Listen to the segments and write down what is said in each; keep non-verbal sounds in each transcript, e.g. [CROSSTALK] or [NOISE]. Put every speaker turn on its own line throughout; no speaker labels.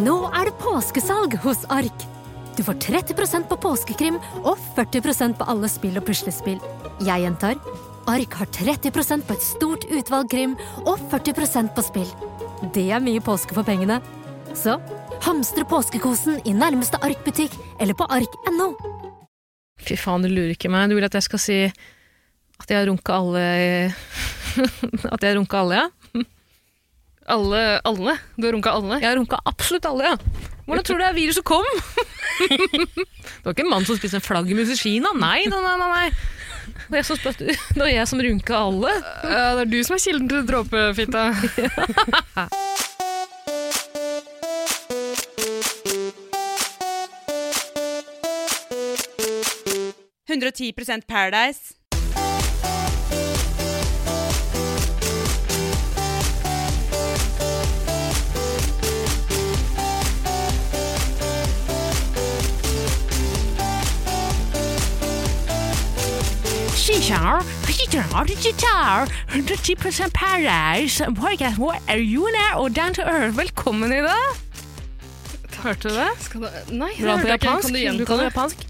Nå er det påskesalg hos Ark. Du får 30 på påskekrim og 40 på alle spill og puslespill. Jeg gjentar Ark har 30 på et stort utvalg krim og 40 på spill. Det er mye påske for pengene. Så hamstre påskekosen i nærmeste Ark-butikk eller på ark.no.
Fy faen, du lurer ikke meg. Du vil at jeg skal si at jeg har runka alle [LAUGHS] At jeg har runka alle, ja?
Alle, alle? Du har runka alle?
Jeg har runka absolutt alle, ja. Hvordan tror du det er viruset kom? [LAUGHS] det var ikke en mann som spiste en flaggermus i Kina. Nei, nei, nei. nei. Det var jeg som, spiste- det var jeg som runka alle.
Ja, det er du som er kilden til dråpefitta.
Paradise.
Velkommen, Ida. Hørte du det?
Skal du... Nei, det
Du kan
hørte
på
jeg ikke.
japansk.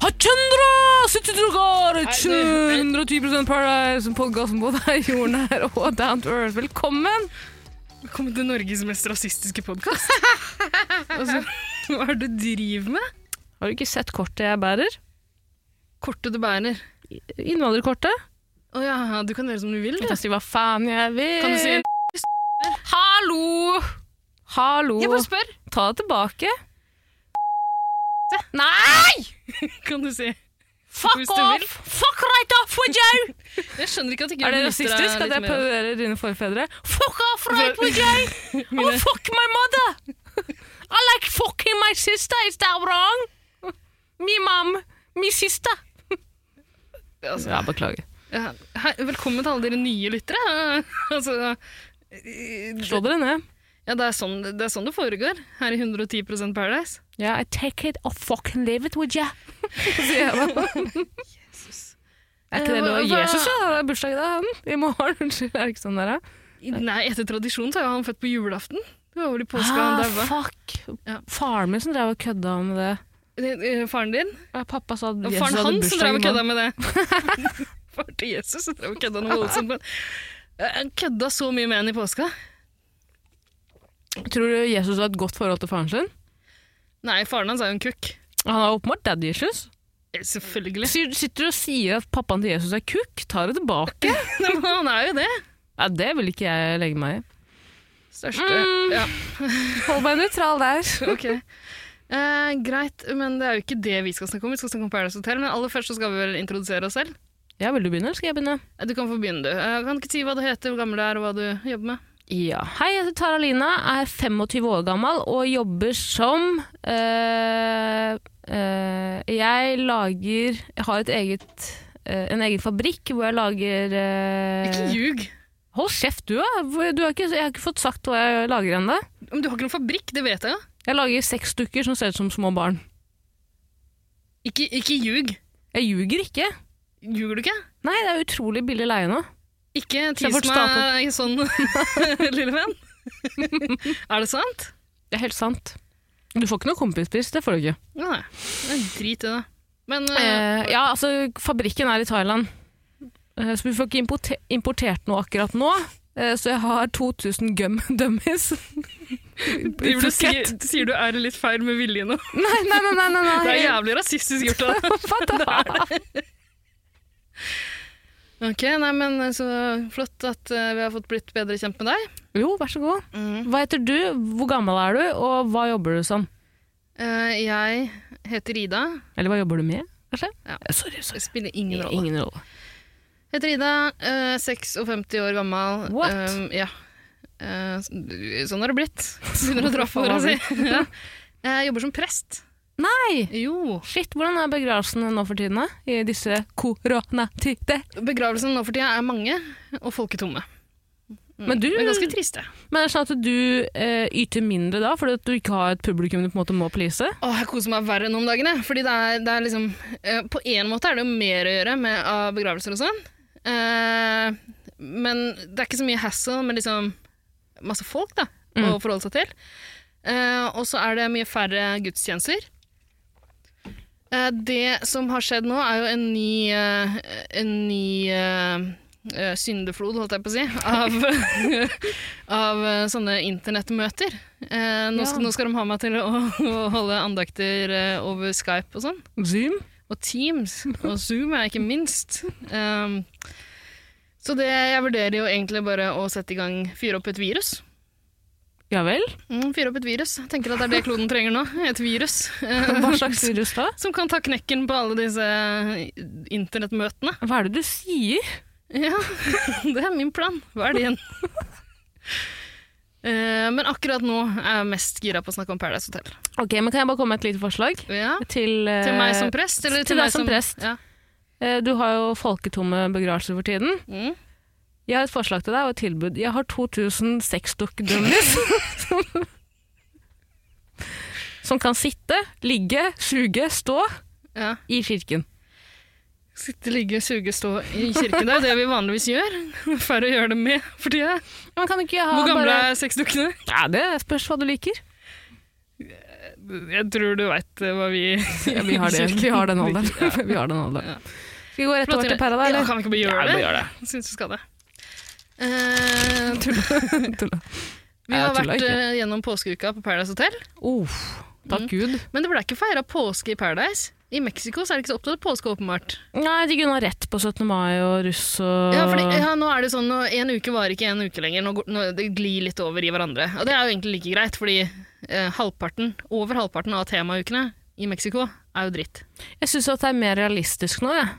Kan du
Du kan på
gjenta det?
japansk. Hachundra! 110 Paradise, podkasten både er jordnær og down to earth. Velkommen!
Velkommen til Norges mest rasistiske
[LAUGHS]
podkast. altså, hva er det du driver med?
Har du ikke sett kortet jeg bærer?
Kortet du bærer.
Innvandrerkortet?
Å ja, du kan gjøre som du vil,
Jeg
du.
kan si hva faen jeg vil.
Kan du si en
[LAUGHS] Hallo! Hallo.
Jeg bare spør.
Ta det tilbake. Nei!
Kan du si Hvis
Fuck
du vil.
off! Fuck right off with you! [LAUGHS]
Jeg skjønner ikke at ikke
Er det
du benytter deg
rasistisk at jeg
litt mer av det.
parodierer dine forfedre? Fuck off right with [LAUGHS] you!
Mine-
Oh, fuck my mother! I like fucking my sister, is that wrong? Me mom, me sister.
Altså,
Ja, beklager.
ja. Hei, velkommen til alle dere nye lyttere. [LAUGHS] altså,
Slå dere ned.
ja, det, er sånn, det er sånn det foregår her i 110 Paradise. [LAUGHS]
Yeah, I take it or fucking leave it with you. Sier jeg bare. Er ikke det [LAUGHS] lov?
Eh, Hva- hva-
Jesus, ja, det er bursdag i dag, han. I morgen. [LAUGHS] Unnskyld, er det ikke sånn der, da?
Nei, etter tradisjon så er jo han født på julaften. Det var vel i påska han
Ah,
daua.
fuck.
Ja.
Faren min som drev og kødda med det.
Eh, eh, Faren din?
Ja, Pappa sa at
Og
Jesus
faren
hadde
hans som
bursdag i
drev og
morgen.
kødda med det. [LAUGHS] Faren til Jesus som drev og kødda noe voldsomt. men- Eh, Han kødda så mye med henne i påska.
Tror du Jesus har et godt forhold til faren sin?
Nei, faren hans er jo en kukk.
Han har åpenbart daddy issues.
Eh, Selvfølgelig. [LAUGHS]
Sier- Sitter du og sier at pappaen til Jesus er kukk, tar det tilbake.
Nei, men han er jo det.
Ja, det vil ikke jeg legge meg i. Mm.
Største Ja,
Hold meg nøytral der.
[LAUGHS] ok. Eh, greit, men det er jo ikke det vi skal snakke om. Vi skal snakke om Paradise Hotel, men aller først så skal vi vel introdusere oss selv.
Ja, Vil du begynne, eller skal jeg begynne?
Eh, Du kan få begynne, du. Eh, kan du ikke si hva du heter, hvor gammel du er, og hva du jobber med?
Ja. Hei, jeg heter Tara Lina, er 25 år gammel og jobber som øh, øh, Jeg lager Jeg har et eget, øh, en egen fabrikk hvor jeg lager øh,
Ikke ljug!
Hold kjeft, du, da! Hvor- Du har ikke, jeg har ikke fått sagt hva jeg lager ennå.
Men du har ikke noen fabrikk, det vet jeg jo.
Jeg lager seks stykker som ser ut som små barn.
Ikke, ikke ljug.
Jeg ljuger ikke.
Ljuger du ikke?
Nei, det er utrolig billig leie nå.
Ikke
Se
tis
bort staten.
meg sånn, [LAUGHS] lille venn. [LAUGHS] er det sant?
Det er helt sant. Du får ikke noe kompispris, det får du ikke.
Nei, det er drit i det. Men eh,
Eh, ja, altså, fabrikken er i Thailand. Eh, så vi får ikke importe importert noe akkurat nå. Eh, så jeg har 2000 gum [LAUGHS] dummies.
driver du, og sier,
Fukett.
sier du er litt feil med vilje nå?
Eh, Nei, nei, nei, nei, nei.
[LAUGHS] Det er jævlig rasistisk gjort av deg.
Hva da?
Ok, nei, men eh, så flott at eh, vi har fått blitt bedre kjent med deg.
Jo, vær så god. Hva heter du, hvor gammel er du, og hva jobber du som?
Eh, jeg heter Ida.
Eller hva jobber du med, kanskje?
Ja.
Eh, Sorry, sorry.
Det spiller ingen rolle.
Ingen rolle.
Heter Ida, eh, 56 år gammel.
What?
Um, ja. Eh, s- sånn har det blitt.
[LAUGHS]
Begynner å dra på åra si. [LAUGHS] ja. Jeg jobber som prest.
Nei!
Jo.
Shit, hvordan er begravelsene nå for tiden, da? I disse koronatider?
Begravelsene nå for tida er mange, og folk er tomme. Mm.
Men du-
Men ganske triste.
Men er det sånn at du eh, yter mindre da, fordi at du ikke har et publikum du på en måte må please?
Åh, jeg koser meg verre nå om dagen, jeg. Fordi det er, det er liksom eh, På en måte er det jo mer å gjøre med av begravelser og sånn. Eh, men det er ikke så mye hassle med liksom masse folk da, å forholde seg til. Eh, og så er det mye færre gudstjenester. Eh, det som har skjedd nå, er jo en ny, eh, en ny eh, eh, syndeflod, holdt jeg på å si, av, [LAUGHS] av eh, sånne internettmøter. Eh, nå, skal,
Ja.
nå skal de ha meg til å, [LAUGHS] å holde andakter eh, over Skype og sånn.
Zoom?
Og Teams, og Zoom er ikke minst. Um, så det, jeg vurderer jo egentlig bare å sette i gang, fyre opp et virus.
Ja vel?
Mm, fyre opp et virus. Jeg tenker at det er det kloden trenger nå. Et virus. eh,
[LAUGHS] Hva slags virus da?
[LAUGHS] som kan ta knekken på alle disse internettmøtene. [LAUGHS]
Hva er det du sier?
Ja, [LAUGHS] det er min plan. Hva er din? Eh, men akkurat nå er jeg mest gira på å snakke om Paradise Hotel.
Ok, men Kan jeg bare komme med et lite forslag?
Ja,
Til, eh,
til meg som prest? Eller
til
til, meg
deg som prest.
Ja.
eh, Du har jo folketomme begravelser for tiden.
Mm.
Jeg har et forslag til deg og et tilbud. Jeg har 2000 [LAUGHS] sexdukk-dummies. som kan sitte, ligge, suge, stå
Ja.
i kirken.
Sitte, ligge, suge, stå i kirken. Det er jo det vi vanligvis gjør. [LAUGHS] Færre gjør det med for tida.
Men kan ikke jeg ha
Hvor gamle
bare...
er sexdukkene?
Ja, Det spørs hva du liker.
Jeg tror du veit hva vi
[LAUGHS] Ja, vi har det. Vi
[LAUGHS]
har den alderen. [LAUGHS] vi har den alderen.
Ja.
Skal vi gå rett over til Perra, da?
Ja,
Eller?
kan vi ikke bare gjøre
Ja, vi
det?
gjør det.
Jeg syns vi skal det. Eh, tull.
Tulla.
vi
Jeg
har
tuller
vært
ikke.
eh, gjennom påskeuka på Paradise Hotel,
Uff, Mm. takk Gud.
men det ble ikke feira påske i Paradise. I Mexico så er det ikke så opptatt av påske, åpenbart.
Nei, de kunne ha rett på 17. mai og russ og
Ja, fordi, ja, nå er det sånn, nå, En uke varer ikke en uke lenger. Nå, går- nå, det glir litt over i hverandre. Og det er jo egentlig like greit, fordi eh, halvparten, over halvparten av temaukene i Mexico er jo dritt.
Jeg syns det er mer realistisk nå, jeg.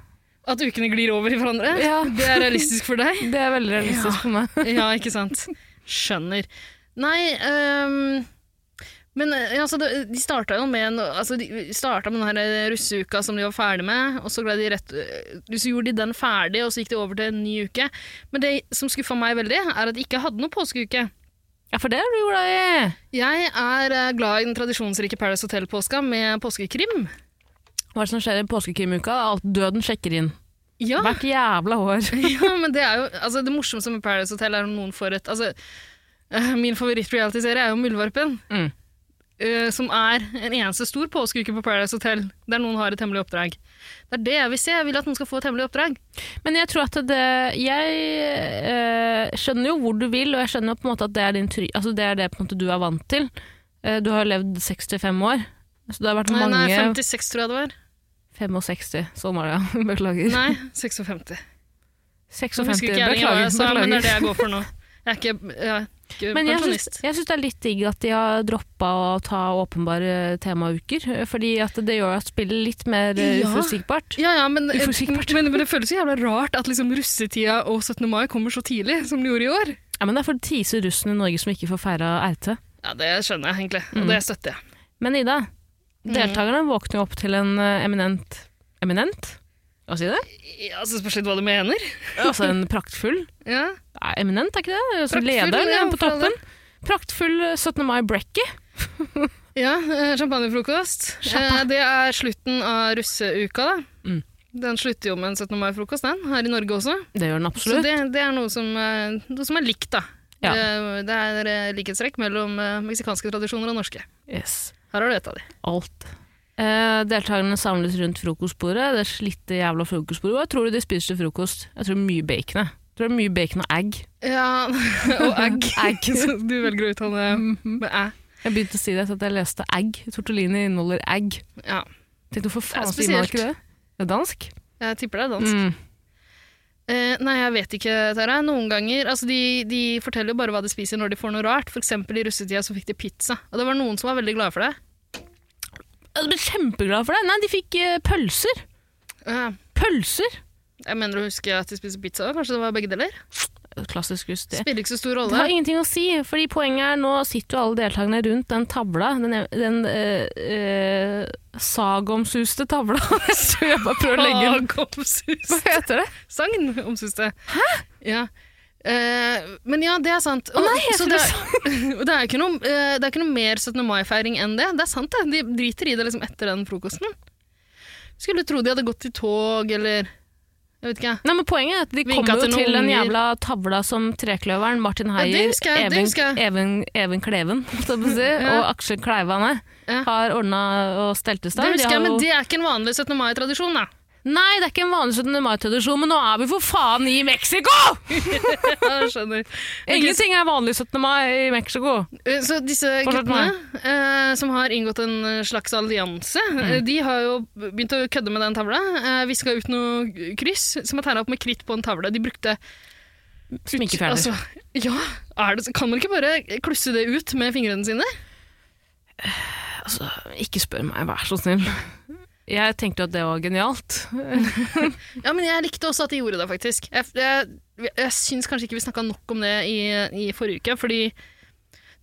At ukene glir over i hverandre?
Ja.
[LAUGHS] Det er realistisk for deg?
Det er veldig realistisk for meg. [LAUGHS]
[LAUGHS] ja, ikke sant? Skjønner. Nei, ehm, men eh, altså, det- de starta jo med, en, altså, de starta med den her eh, russeuka som de var ferdig med, og så, ble de rett, eh, så gjorde de den ferdig, og så gikk de over til en ny uke. Men det som skuffa meg veldig, er at de ikke hadde noe påskeuke.
Ja, for det er du glad i.
Jeg er eh, glad i den tradisjonsrike Paradise Hotel-påska med påskekrim.
Hva er det som skjer i påskekrimuka? Alt døden sjekker inn.
Ja.
Hvert jævla år.
[LAUGHS] Ja, men det er jo altså, Det morsomste med Paradise Hotel er om noen får et altså, eh, Min favoritt-reality-serie er jo Muldvarpen.
Mm.
eh, som er en eneste stor påskeuke på Paradise Hotel, der noen har et hemmelig oppdrag. Det er det jeg vil se. Jeg vil at noen skal få et hemmelig oppdrag.
Men jeg tror at det Jeg eh, skjønner jo hvor du vil, og jeg skjønner jo på en måte at det er, din try altså det, er det på en måte du er vant til. Eh, du har jo levd 65 år, så det har vært
Nei,
mange
nei, 56 tror jeg det var. [LAUGHS]
65, sånn var det, ja. [LAUGHS] Beklager.
Nei, 56. Så
56,
husker ikke jeg lenger hva
beklager.
jeg sa, men det er
beklager.
det jeg går for nå. Jeg er ikke, jeg er ikke
[LAUGHS] Men jeg syns,
pensjonist.
jeg syns det er litt digg at de har droppa å ta åpenbare temauker, eh, fordi at det gjør at spillet er litt mer eh,
Ja.
uforutsigbart.
Ja, ja, men,
Uforutsigbart.
men, men det føles jo jævla rart at liksom russetida og 17. mai kommer så tidlig som det gjorde i år.
Ja, men det er for å tease russen i Norge som ikke får feira RT.
Ja, det skjønner jeg egentlig, og det støtter jeg.
Men Ida,
Mm.
deltakerne våkner jo opp til en eh, eminent Eminent? Hva sier det?
Ja, så spørs litt hva du mener.
[LAUGHS] Altså en praktfull
Ja.
Nei, Eminent, er ikke det? Som
Praktfull,
leder
ja,
ja, på
for all
toppen. Praktfull eh, 17. mai-brekkie.
Ja, eh, champagnefrokost.
Sjappa.
Eh, Det er slutten av russeuka, da.
Mm.
Den slutter jo med en 17. mai-frokost, den, her i Norge også.
Det gjør den
Så
absolutt.
det, det er noe som, eh, noe som er likt, da.
Ja.
Eh, Det er eh, likhetstrekk mellom eh, meksikanske tradisjoner og norske.
Yes.
Her har du et av de.
Alt. Eh, deltakerne samles rundt frokostbordet, det slitte jævla frokostbordet. Hva tror du de spiser til frokost? Jeg tror mye bacon. jeg. Jeg tror det er mye bacon og egg.
Ja, [LAUGHS] og egg.
[LAUGHS] Egg.
[LAUGHS]
Mhm.
Så du velger å uttale med æ.
Jeg begynte å si det etter at jeg leste egg. Tortellini inneholder egg.
Ja.
Tenkte hvorfor faen
Det er
sier man ikke det?
spesielt. Altså,
Det er dansk.
Jeg tipper det er dansk.
Mm.
Eh, nei, jeg vet ikke, Tara. Noen ganger altså de, de forteller jo bare hva de spiser når de får noe rart. For eksempel i russetida så fikk de pizza. Og det var noen som var veldig glade for det.
Jeg ble kjempeglad for det. Nei, de fikk eh, pølser.
Eh,
Pølser!
jeg mener å huske at de spiser pizza òg. Kanskje det var begge deler?
Klassisk russ, det.
Spiller ikke så stor
Det har
rolle.
ingenting å si, fordi poenget er nå sitter jo alle deltakerne rundt den tavla, den, den eh, eh, sagomsuste tavla. [LAUGHS] Jeg tror jeg bare prøver å legge den Hva
Sagomsus.
heter det?
Sagn om syste. Hæ? Ja. Eh, men ja, det er sant. Og-
nei, jeg
så
tror
det, [LAUGHS] er, det, er ikke noe, eh, det er ikke noe mer 17. mai-feiring enn det. Det er sant, det. De driter i det liksom etter den frokosten. Skulle tro de hadde gått i tog eller Jeg vet ikke, jeg.
Nei, men Poenget er at de
Vinka
kommer jo
til noen
til den
unger.
jævla tavla som Trekløveren, Martin
det
Heier,
husker jeg, det
Even,
husker jeg.
Even, Even Kleven [LAUGHS] så å si,
Ja.
og Aksel Kleivane
Ja.
har ordna og stelt i
Det
stand. De
husker
har
jeg, men
jo-
det er ikke en vanlig 17. mai-tradisjon, da. [LAUGHS]
Nei, det er ikke en vanlig 17. mai-tradisjon, men nå er vi for faen i Mexico!
Jeg skjønner.
Ingenting er vanlig 17. mai i Mexico.
Eh, Så disse
Fortsett
guttene eh, som har inngått en eh, slags allianse, eh, de har jo begynt å kødde med den tavla. Eh, Viska ut noe kryss som er tegna opp med kritt på en tavle. De brukte
Sminkefjerner.
altså, [LAUGHS] Ja, er det, så- kan man ikke bare klusse det ut med fingrene sine?
Altså, ikke spør meg, vær så snill. Jeg tenkte jo at det var genialt.
Ja, men jeg likte også at de gjorde det, faktisk. Jeg, jeg, jeg syns kanskje ikke vi snakka nok om det i, i forrige uke, fordi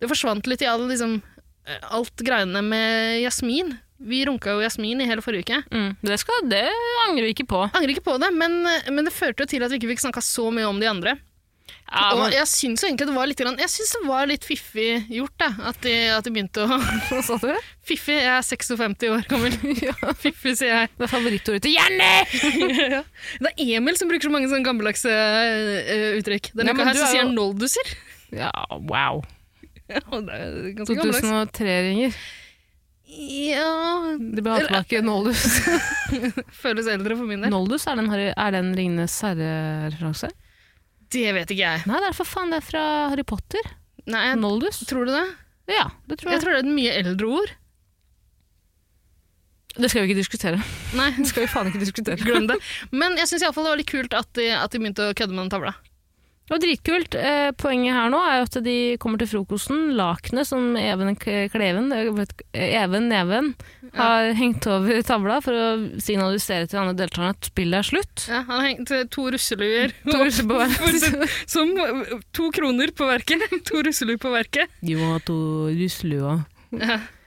det forsvant litt i all, liksom, eh, alt greiene med Jasmin. Vi runka jo Jasmin i hele forrige uke.
Mm, det, skal, det angrer vi ikke på.
Angrer ikke på det, men, men det førte jo til at vi ikke fikk snakka så mye om de andre.
Ja,
Og
men, [LAUGHS]
jeg syns jo egentlig det var litt, grann- jeg synes det var litt fiffig gjort, da, at, de, at de begynte å [LAUGHS]
hva sa du?
Fiffig, jeg er 56 år
[LAUGHS]
gammel. Fiffig, sier jeg.
Det er favorittordet til Jenny!
Det er Emil som bruker så mange sånne gammeldagse eh, uttrykk. Denne
Ja, men
uka her
du
så
er
sier
jo-
han nolduser.
Ja, wow.
Og det er ganske gammeldags.
2003-ringer.
Ja
De ble hatt tilbake i Noldus. [LAUGHS]
Føles eldre for min del.
Noldus, er den, Harry- er den Ringenes herre-referanse?
Det vet ikke jeg.
Nei, det er for faen, det er fra Harry Potter.
Nei, jeg,
Noldus.
Tror du det?
Ja, det tror
Jeg
jeg.
tror det er et mye eldre ord.
Det skal vi ikke diskutere.
Nei,
Det skal vi faen ikke diskutere.
[LAUGHS] glem det. Men jeg syns iallfall det var litt kult at de, at de begynte å kødde med den tavla.
Det var dritkult. Eh, poenget her nå er jo at de kommer til frokosten. Lakenet som Even K- Kleven, jeg vet ikke, Even Neven, har hengt over tavla for å signalisere til de andre deltakerne at spillet er slutt.
Ja, han har hengt eh, to russeluer.
To russer på hver.
[LAUGHS] For- Som eh, to kroner på verket. [LAUGHS] To russeluer på verket.
De må ha to russelua.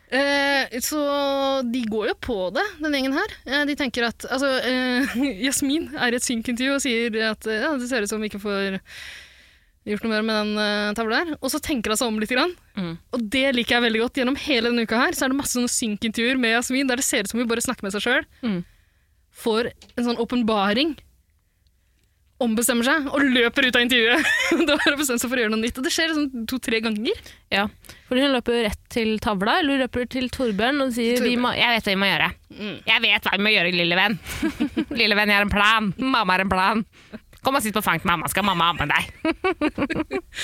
Eh, så de går jo på det, den gjengen her. Eh, de tenker at Altså, eh, [LAUGHS] Jasmin er i et synkintervju og sier at eh, ja, det ser ut som vi ikke får gjort noe mer med den eh, tavla her. Og så tenker hun seg om litt. Grann.
Mm.
Og det liker jeg veldig godt. Gjennom hele denne uka her så er det masse sånne synkintervjuer med Jasmin der det ser ut som hun bare snakker med seg sjøl.
Mm.
Får en sånn åpenbaring. Ombestemmer seg og løper ut av intervjuet. [LAUGHS] da har hun bestemt seg for å gjøre noe nytt. Og det skjer sånn to-tre ganger.
Ja, for hun løper jo rett til tavla, eller hun løper til Torbjørn og sier
Torbjørn.
vi må, Jeg vet hva vi må gjøre.
Mm.
Jeg vet hva vi må gjøre, lille venn. [LAUGHS] lille venn, jeg har en plan. Mamma har en plan. Kom og sitt på fanget til mamma, skal mamma amme deg.
[LAUGHS]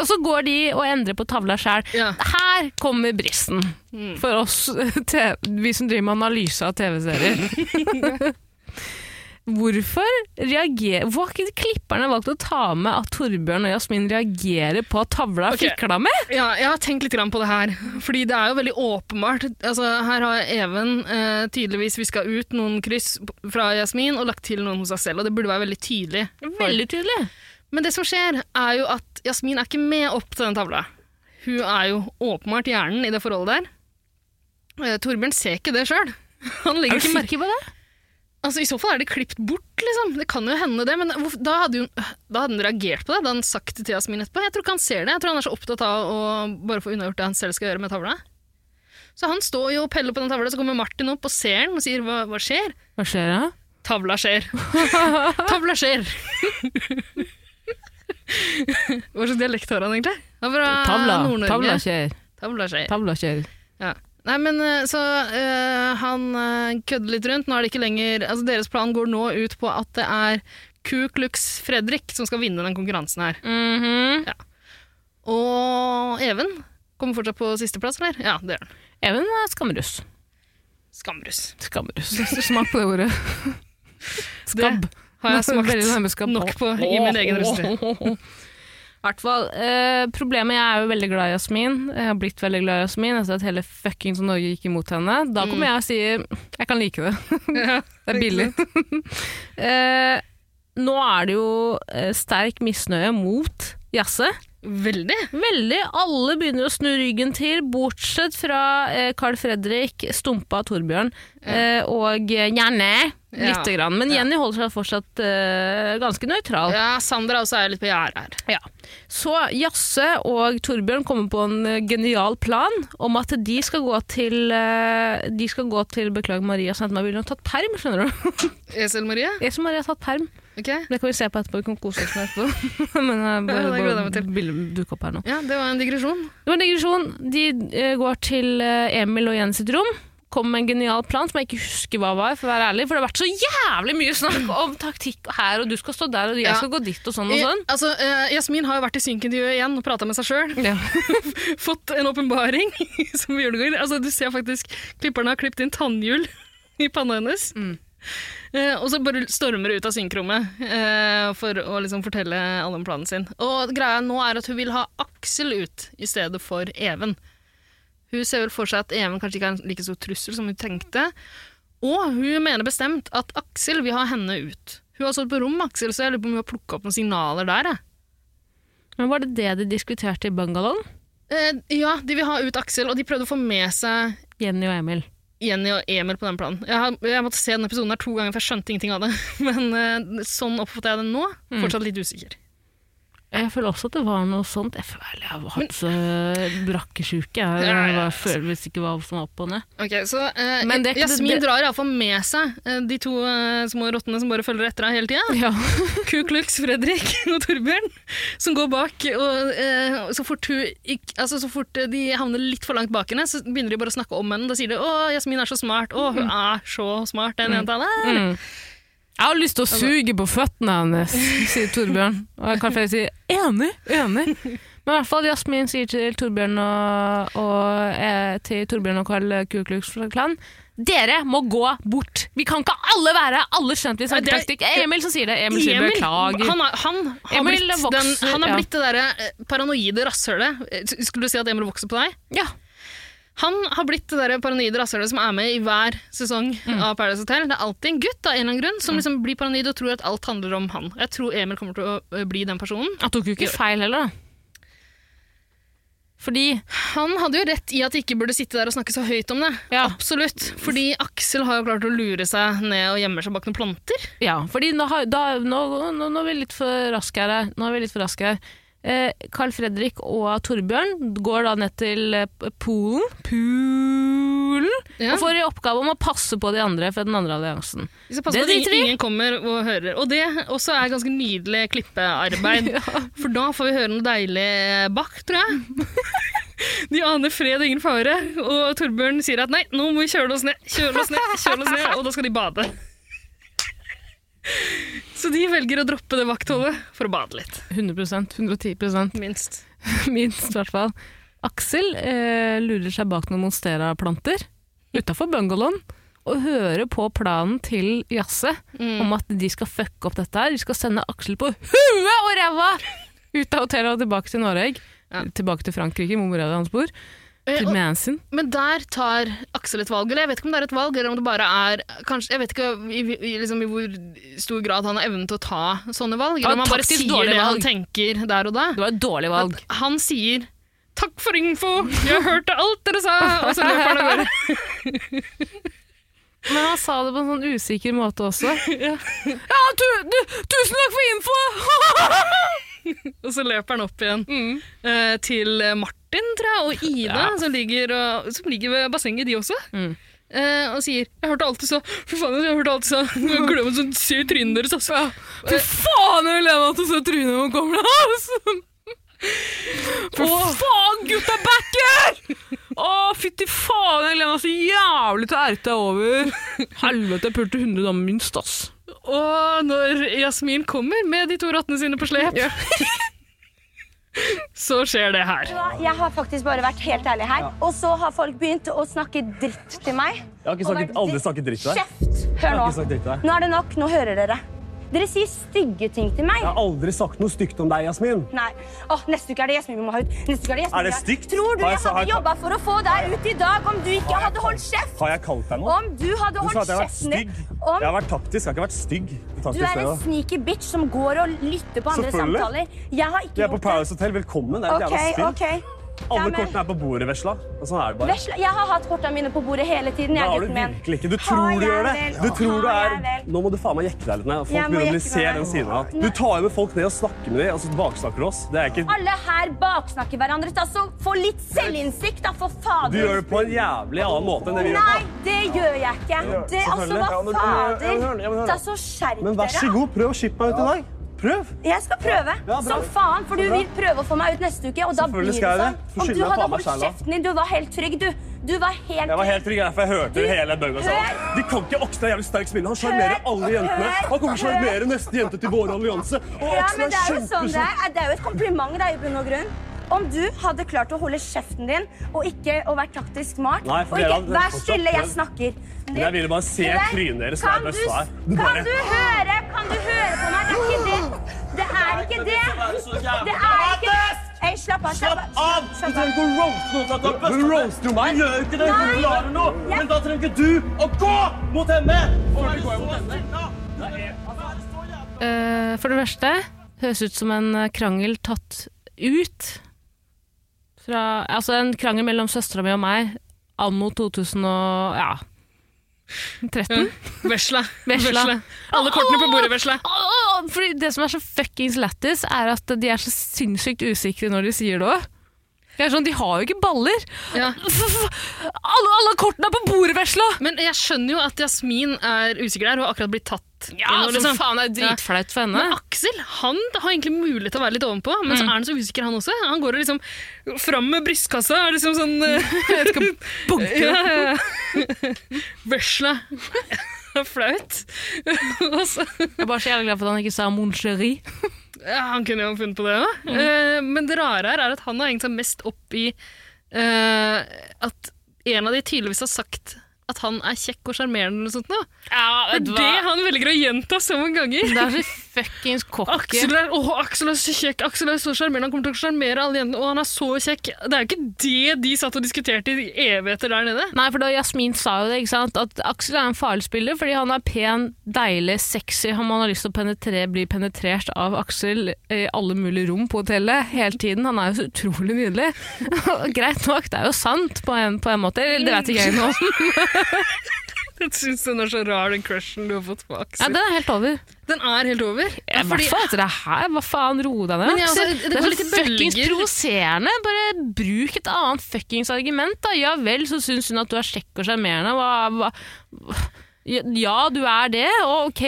og så går de og endrer på tavla sjæl.
Ja. Mm.
Her kommer bristen for oss, [LAUGHS] te- vi som driver med analyse av TV-serier.
[LAUGHS]
Hvorfor, reager, hvorfor har ikke klipperne valgt å ta med at Torbjørn og Jasmin reagerer på at tavla
Ok.
fikla med?
Ja, jeg har tenkt litt grann på det her. Fordi det er jo veldig åpenbart. Altså, her har Even eh, tydeligvis viska ut noen kryss p- fra Jasmin og lagt til noen hos seg selv, og det burde være veldig tydelig.
Veldig tydelig.
Men det som skjer, er jo at Jasmin er ikke med opp til den tavla. Hun er jo åpenbart hjernen i det forholdet der. Eh, Torbjørn ser ikke det sjøl. [LAUGHS] Han legger ikke merke
på det?
Altså, I så fall er det klippet bort, liksom. Det kan jo hende det, men hvorf- da hadde, hun, da hadde hun reagert på det. Da hadde han sagt det til Jasmin etterpå. Jeg tror ikke han ser det. Jeg tror han er så opptatt av å bare få unnagjort det han selv skal gjøre med tavla. Så han står jo og peller på den tavla, så kommer Martin opp og ser den og sier hva, hva skjer?
Hva skjer da?
Tavla [LAUGHS] skjer. tavla skjer. hva slags dialekt har han egentlig? Han er fra Ah, Nord-Norge.
skjer.
Tavla skjer.
Tavla skjer.
Ja. Nei, men eh, så eh, han eh, kødder litt rundt. Nå er det ikke lenger Altså, deres plan går nå ut på at det er Ku Klux Fredrik som skal vinne den konkurransen her. Mhm. Og Even kommer fortsatt på sisteplass, eller? Ja, det gjør han.
Even er skamruss.
Skamrus.
Skamruss. [LAUGHS] Smak på det ordet. Skabb.
[LAUGHS] Det Har jeg
[LAUGHS] Veldig
smakt
nærme skabb.
nok på i min egen russetid.
[LAUGHS] I hvert fall, eh, problemet Jeg er jo veldig glad i Jasmin. Jeg har blitt veldig glad i Jasmin etter at hele fuckings Norge gikk imot henne. Da kommer jeg og sier jeg kan like det.
Mm. [LAUGHS] Ja,
[LAUGHS] Det er billig. [LAUGHS] eh, nå er det jo eh, sterk misnøye mot Jasse.
Veldig.
Veldig. Alle begynner å snu ryggen til, bortsett fra eh, Carl Fredrik, Stumpa, Torbjørn eh, og Janne.
Ja.
Lite grann. Men
Ja.
Jenny holder seg fortsatt eh, ganske nøytral.
Ja, Sandra også er litt på gjerdet her.
Ja. Så Jasse og Torbjørn kommer på en eh, genial plan om at de skal gå til eh, De skal gå til Beklager, Maria Sandberg ville nok tatt perm, skjønner du. [LAUGHS]
Esel Marie?
Jeg som Maria har tatt perm.
Ok.
Det kan vi se på etterpå. Vi kan kose oss med etterpå. [LAUGHS] Men jeg
Ja, det gleder jeg meg
bare,
til.
bare dukke opp her nå.
Ja, det var en digresjon.
Det var en digresjon. De eh, går til eh, Emil og Jens sitt rom. Kommer med en genial plan som jeg ikke husker hva var, for å være ærlig. For det har vært så jævlig mye snakk om taktikk her, og du skal stå der, og jeg
Ja.
skal gå dit, og sånn og sånn.
Eh, altså, eh, Jasmin har jo vært i synkintervjuet igjen E og prata med seg sjøl. [LAUGHS] Fått en åpenbaring [LAUGHS] som julegård. Altså, du ser faktisk klipperne har klippet inn tannhjul [LAUGHS] i panna hennes.
Mm.
Eh, og så bare stormer hun ut av synkrommet eh, for å liksom fortelle alle om planen sin. Og greia nå er at hun vil ha Aksel ut i stedet for Even. Hun ser vel for seg at Even kanskje ikke er en like stor trussel som hun tenkte. Og hun mener bestemt at Aksel vil ha henne ut. Hun har stått på rom med Aksel, så jeg lurer på om hun har plukka opp noen signaler der. Jeg.
Men var det det de diskuterte i bungalowen?
Eh, ja, de vil ha ut Aksel, og de prøvde å få med seg
Jenny og Emil.
Jenny og Emil på den planen. Jeg, har, jeg måtte se denne episoden her to ganger, for jeg skjønte ingenting av det. [LAUGHS] Men eh, sånn oppfatter jeg det nå.
Mm.
Fortsatt litt usikker.
Jeg føler også at det var noe sånt. Jeg føler jeg har hatt så brakkesjuke. Jeg,
Ja, ja,
jeg
ja.
bare føler visst ikke hva som var opp og ned.
Ok, så eh,
Men det er ikke-
Jasmin
det-
drar iallfall med seg eh, de to eh, små rottene som bare følger etter henne hele tida.
Ja.
Ku Klux Fredrik [LAUGHS] og Torbjørn, som går bak. Og, eh, så, fort hun, ikk- altså, så fort eh, de havner litt for langt bak henne, så begynner de bare å snakke om henne. Da sier de 'Å, Jasmin er så smart'. 'Å,
Mm.
hun er så smart, den jenta der'.
Jeg har lyst til
Altså-
å suge på føttene hennes, sier Torbjørn. Og jeg kan flere si enig, enig. Men i hvert fall Jasmin sier til Torbjørn og, og, eh, til Torbjørn og Karl Kuklux Klan dere må gå bort! Vi kan ikke alle være alle skjøntvis
Nei, det er-
antitaktikk. Det er Eh, Emil som sier det. Emil sier beklager.
han, er, han, har
Emil
blitt,
vokser,
den, han har
ja.
blitt det derre eh, paranoide rasshølet. Eh, Skulle du si at Emil vokser på deg?
Ja.
Han har blitt det der paranoide rasshølet som er med i hver sesong
Mm.
av Paradise Hotel. Det er alltid en gutt av en eller annen grunn som liksom blir paranoid og tror at alt handler om han. Jeg tror Emil kommer til å eh, bli den personen.
Han tok jo ikke feil heller, da. Fordi
Han hadde jo rett i at de ikke burde sitte der og snakke så høyt om det.
Ja.
Absolutt. Fordi Aksel har jo klart å lure seg ned og gjemmer seg bak noen planter.
Ja, fordi nå, har, da, nå, nå, nå er vi litt for raske her. eh. Nå er vi litt for raske her. Eh, Carl Fredrik og Torbjørn går da ned til eh, poolen, poolen
Ja.
og får i oppgave om å passe på de andre fra den andre alliansen.
Så pass på
Det
at ingen,
driter vi i.
ingen kommer og hører. Og det også er ganske nydelig
[LAUGHS]
klippearbeid. For da får vi høre noe deilig Bach, tror jeg. [LAUGHS] De aner fred og ingen fare, og Torbjørn sier at nei, nå må vi kjøle oss ned, kjøle oss ned, kjøle oss ned, og da skal de bade. Så de velger å droppe det vaktholdet for å bade litt,
100 110
minst.
[LAUGHS] minst i hvert fall. Aksel eh, lurer seg bak noen monstera-planter utafor bungalowen og hører på planen til Jasse om at de skal fucke opp dette her. De skal sende Aksel på huet og ræva ut av hotellet og tilbake til Norge.
Ja.
Tilbake til Frankrike, hvor mora di hans bor.
Eh,
Til
og-
Manson.
Men der tar Aksel et valg, eller jeg vet ikke om det er et valg, eller om det bare er kanskje, Jeg vet ikke i, i, liksom, i hvor stor grad han har evnen til å ta sånne valg,
Ja,
eller om han bare
taktisk
sier
dårlig
det han
valg.
tenker der og da.
Det var et dårlig
At
valg.
han sier 'takk for info, jeg hørte alt dere sa', og så løper han av gårde.
Men han sa det på en sånn usikker måte også. [LAUGHS] ja, tu, du, tusen takk for info! [LAUGHS]
Og så løper han opp igjen eh, til Martin, tror jeg, og Ida,
Ja.
som, ligger, og, som ligger ved bassenget, de også.
Mm.
eh, og sier 'jeg hørte alt du sa', fy faen, jeg hørte alt du sa', jeg gleder meg sånn, se i trynet deres, altså.
Fy faen, jeg gleder meg til å se trynet når man kommer til [LAUGHS] oss! Fy faen, gutta backer! Å, fytti faen, jeg gleder meg så jævlig til å erte deg over. Helvete, jeg pulte 100 damer minst, ass.
Og når Jasmin kommer med de to rottene sine på slep, [LAUGHS] så skjer det her.
Vet du hva? Jeg har faktisk bare vært helt ærlig her. Og så har folk begynt å snakke dritt til meg.
Jeg har ikke
Og
snakket,
vært
aldri
dritt-
snakket dritt til deg.
Kjeft!
Jeg
Hør
har ikke
nå.
snakket dritt til deg.
Nå er det nok. Nå hører dere. Dere sier stygge ting til meg.
Jeg har aldri sagt noe stygt om deg, Jasmin.
Nei. Åh, neste uke er det Jasmin vi må ha ut. Neste uke er det Jasmin
Er
vi må
det
ha ut.
stygt?
Tror du
Har jeg
jeg
sa- har
hadde
jeg-
jobba for å få deg ut i dag om du ikke hadde holdt kjeft?
Har jeg kalt deg noe?
Om du hadde
Du sa at
holdt
jeg har vært
kjeften din?
stygg. Jeg
Om
har vært taktisk, jeg har ikke vært stygg. Det
du
taktiske
er en
stedet.
sneaky bitch som går og lytter på andre
Selvfølgelig.
samtaler. Jeg har
Vi
ikke
er
gjort
på
det.
Paradise Hotel. Velkommen. Det er et
Ok,
jævla spill.
ok. Ja,
Alle
men-
kortene er på bordet, vesla. Og sånn er det bare.
Vesla, jeg har hatt kortene mine på bordet hele tiden.
Det
Jeg,
har du
gutten min.
virkelig ikke. Du
Har
tror du
jeg
gjør det.
vel?
Du tror du
Har
er...
jeg vel?
Nå må du faen meg jekke deg litt ned. Folk
Jeg må
begynner å
jekke meg
se
ned.
den siden av deg. Du tar jo med folk ned og snakker med dem, og så baksnakker du oss. Det er ikke...
Alle her baksnakker hverandre. Da, så altså, få litt selvinnsikt, da, for fader.
Du gjør det på en jævlig annen måte enn det vi gjør
Nei,
på.
det gjør jeg ikke. Det, altså,
selvfølgelig. Ja, men-
hva
ja, men hør nå, ja, men
fader?
hør nå.
Da, så skjerp
Men vær så
dere.
god, prøv å shippe meg ut i dag. Prøv.
Jeg skal prøve
Ja, bra.
som faen, for du
Bra.
vil prøve å få meg ut neste uke. Og da blir
Selvfølgelig
det
skal jeg
sånn.
det. For
Om
skylden
du
er
hadde
faen meg
holdt
selv, da.
kjeften din, du var helt trygg, du. Du var helt
Jeg var helt trygg, derfor jeg hørte hele bønga
Hør!
sammen. De kan ikke Oksen er jævlig sterk spiller. Han sjarmerer
Hør!
alle jentene.
Hør!
Han kommer til å sjarmere neste jente til vår allianse. Og
Ja,
Oksen
men
er
det er jo sånn det
kjempesjuk.
er. Det er jo et kompliment da, i bunn og grunn. Om du hadde klart å holde kjeften din og ikke å være taktisk smart
Nei, for
og
dere
ikke,
hadde
Vær
fortsatt
stille, jeg
prøvd.
snakker.
Men jeg ville bare se
Du vet,
trynet deres
kan
der
du-
bøssa er. Du bare-
Kan du høre? Kan du høre på meg? Det er ikke det. Det er ikke det. Det er ikke Ei, slapp av. Slapp av. Slapp av.
ikke å roaste noen for at du har roaster meg. Du gjør ikke det.
Nei.
Du klarer noe.
Jeg-
Men da trenger ikke du å gå mot henne. Og er du så sinna?
Eh, for det verste høres ut som en eh, krangel tatt ut fra Altså en krangel mellom søstera mi og meg anno 2000 og ja 13.
Vesla.
Vesla.
Vesla. Alle kortene på bordet, Vesla.
Åh, fordi det som er så fuckings lættis, er at de er så sinnssykt usikre når de sier det òg. Sånn, de har jo ikke baller! [LAUGHS]
Ja.
Alle, alle kortene er på bordet, vesla!
Men jeg skjønner jo at Jasmin er usikker der. Hun har akkurat blitt tatt.
Ja,
nå,
som
liksom.
faen det er dritflaut for
Men
henne.
Aksel han har egentlig mulighet til å være litt ovenpå, men så er han så usikker, han også. Han går og liksom fram med brystkassa og liksom [LAUGHS] sånn eh, Jeg skal
bunke.
ja, ja. [LAUGHS] Vesla. Det er Flaut. [LAUGHS] Og så-
Jeg er bare så jævlig glad for at han ikke sa mon chéri.
ja, han kunne jo ha funnet på det òg.
Mm.
Men det rare her er at han har hengt seg mest opp i eh, at en av de tydeligvis har sagt at han er kjekk og sjarmerende eller noe sånt. nå. Det er det han velger å gjenta så mange ganger.
Det er så fuckings cocky.
[LAUGHS] Aksel er, åh, Aksel er så kjekk, Aksel er så sjarmerende, han kommer til å sjarmere alle jentene, og han er så kjekk. Det er jo ikke det de satt og diskuterte i evigheter der nede.
Nei, for da Jasmin sa jo det, ikke sant? at Aksel er en farlig spiller fordi han er pen, deilig, sexy. Han man har lyst til å penetre, bli penetrert av Aksel i alle mulige rom på hotellet hele tiden. Han er jo så utrolig nydelig. [LAUGHS] Greit nok, det er jo sant på en, på en måte. Eller, Det vet ikke jeg nå.
Jeg syns den er så rar, den crushen du har fått på
[LAUGHS] Ja,
Aksel.
den er helt over.
Den er helt over.
I hvert fall etter det her. Hva faen, ro deg ned,
Men jeg,
Aksel.
altså, det
Det
går
er
litt i
så fuckings
bølger.
provoserende. Bare bruk et annet fuckings argument, da. Ja vel, så syns hun at du er kjekk og sjarmerende. Hva, hva ja, du er det, og ok.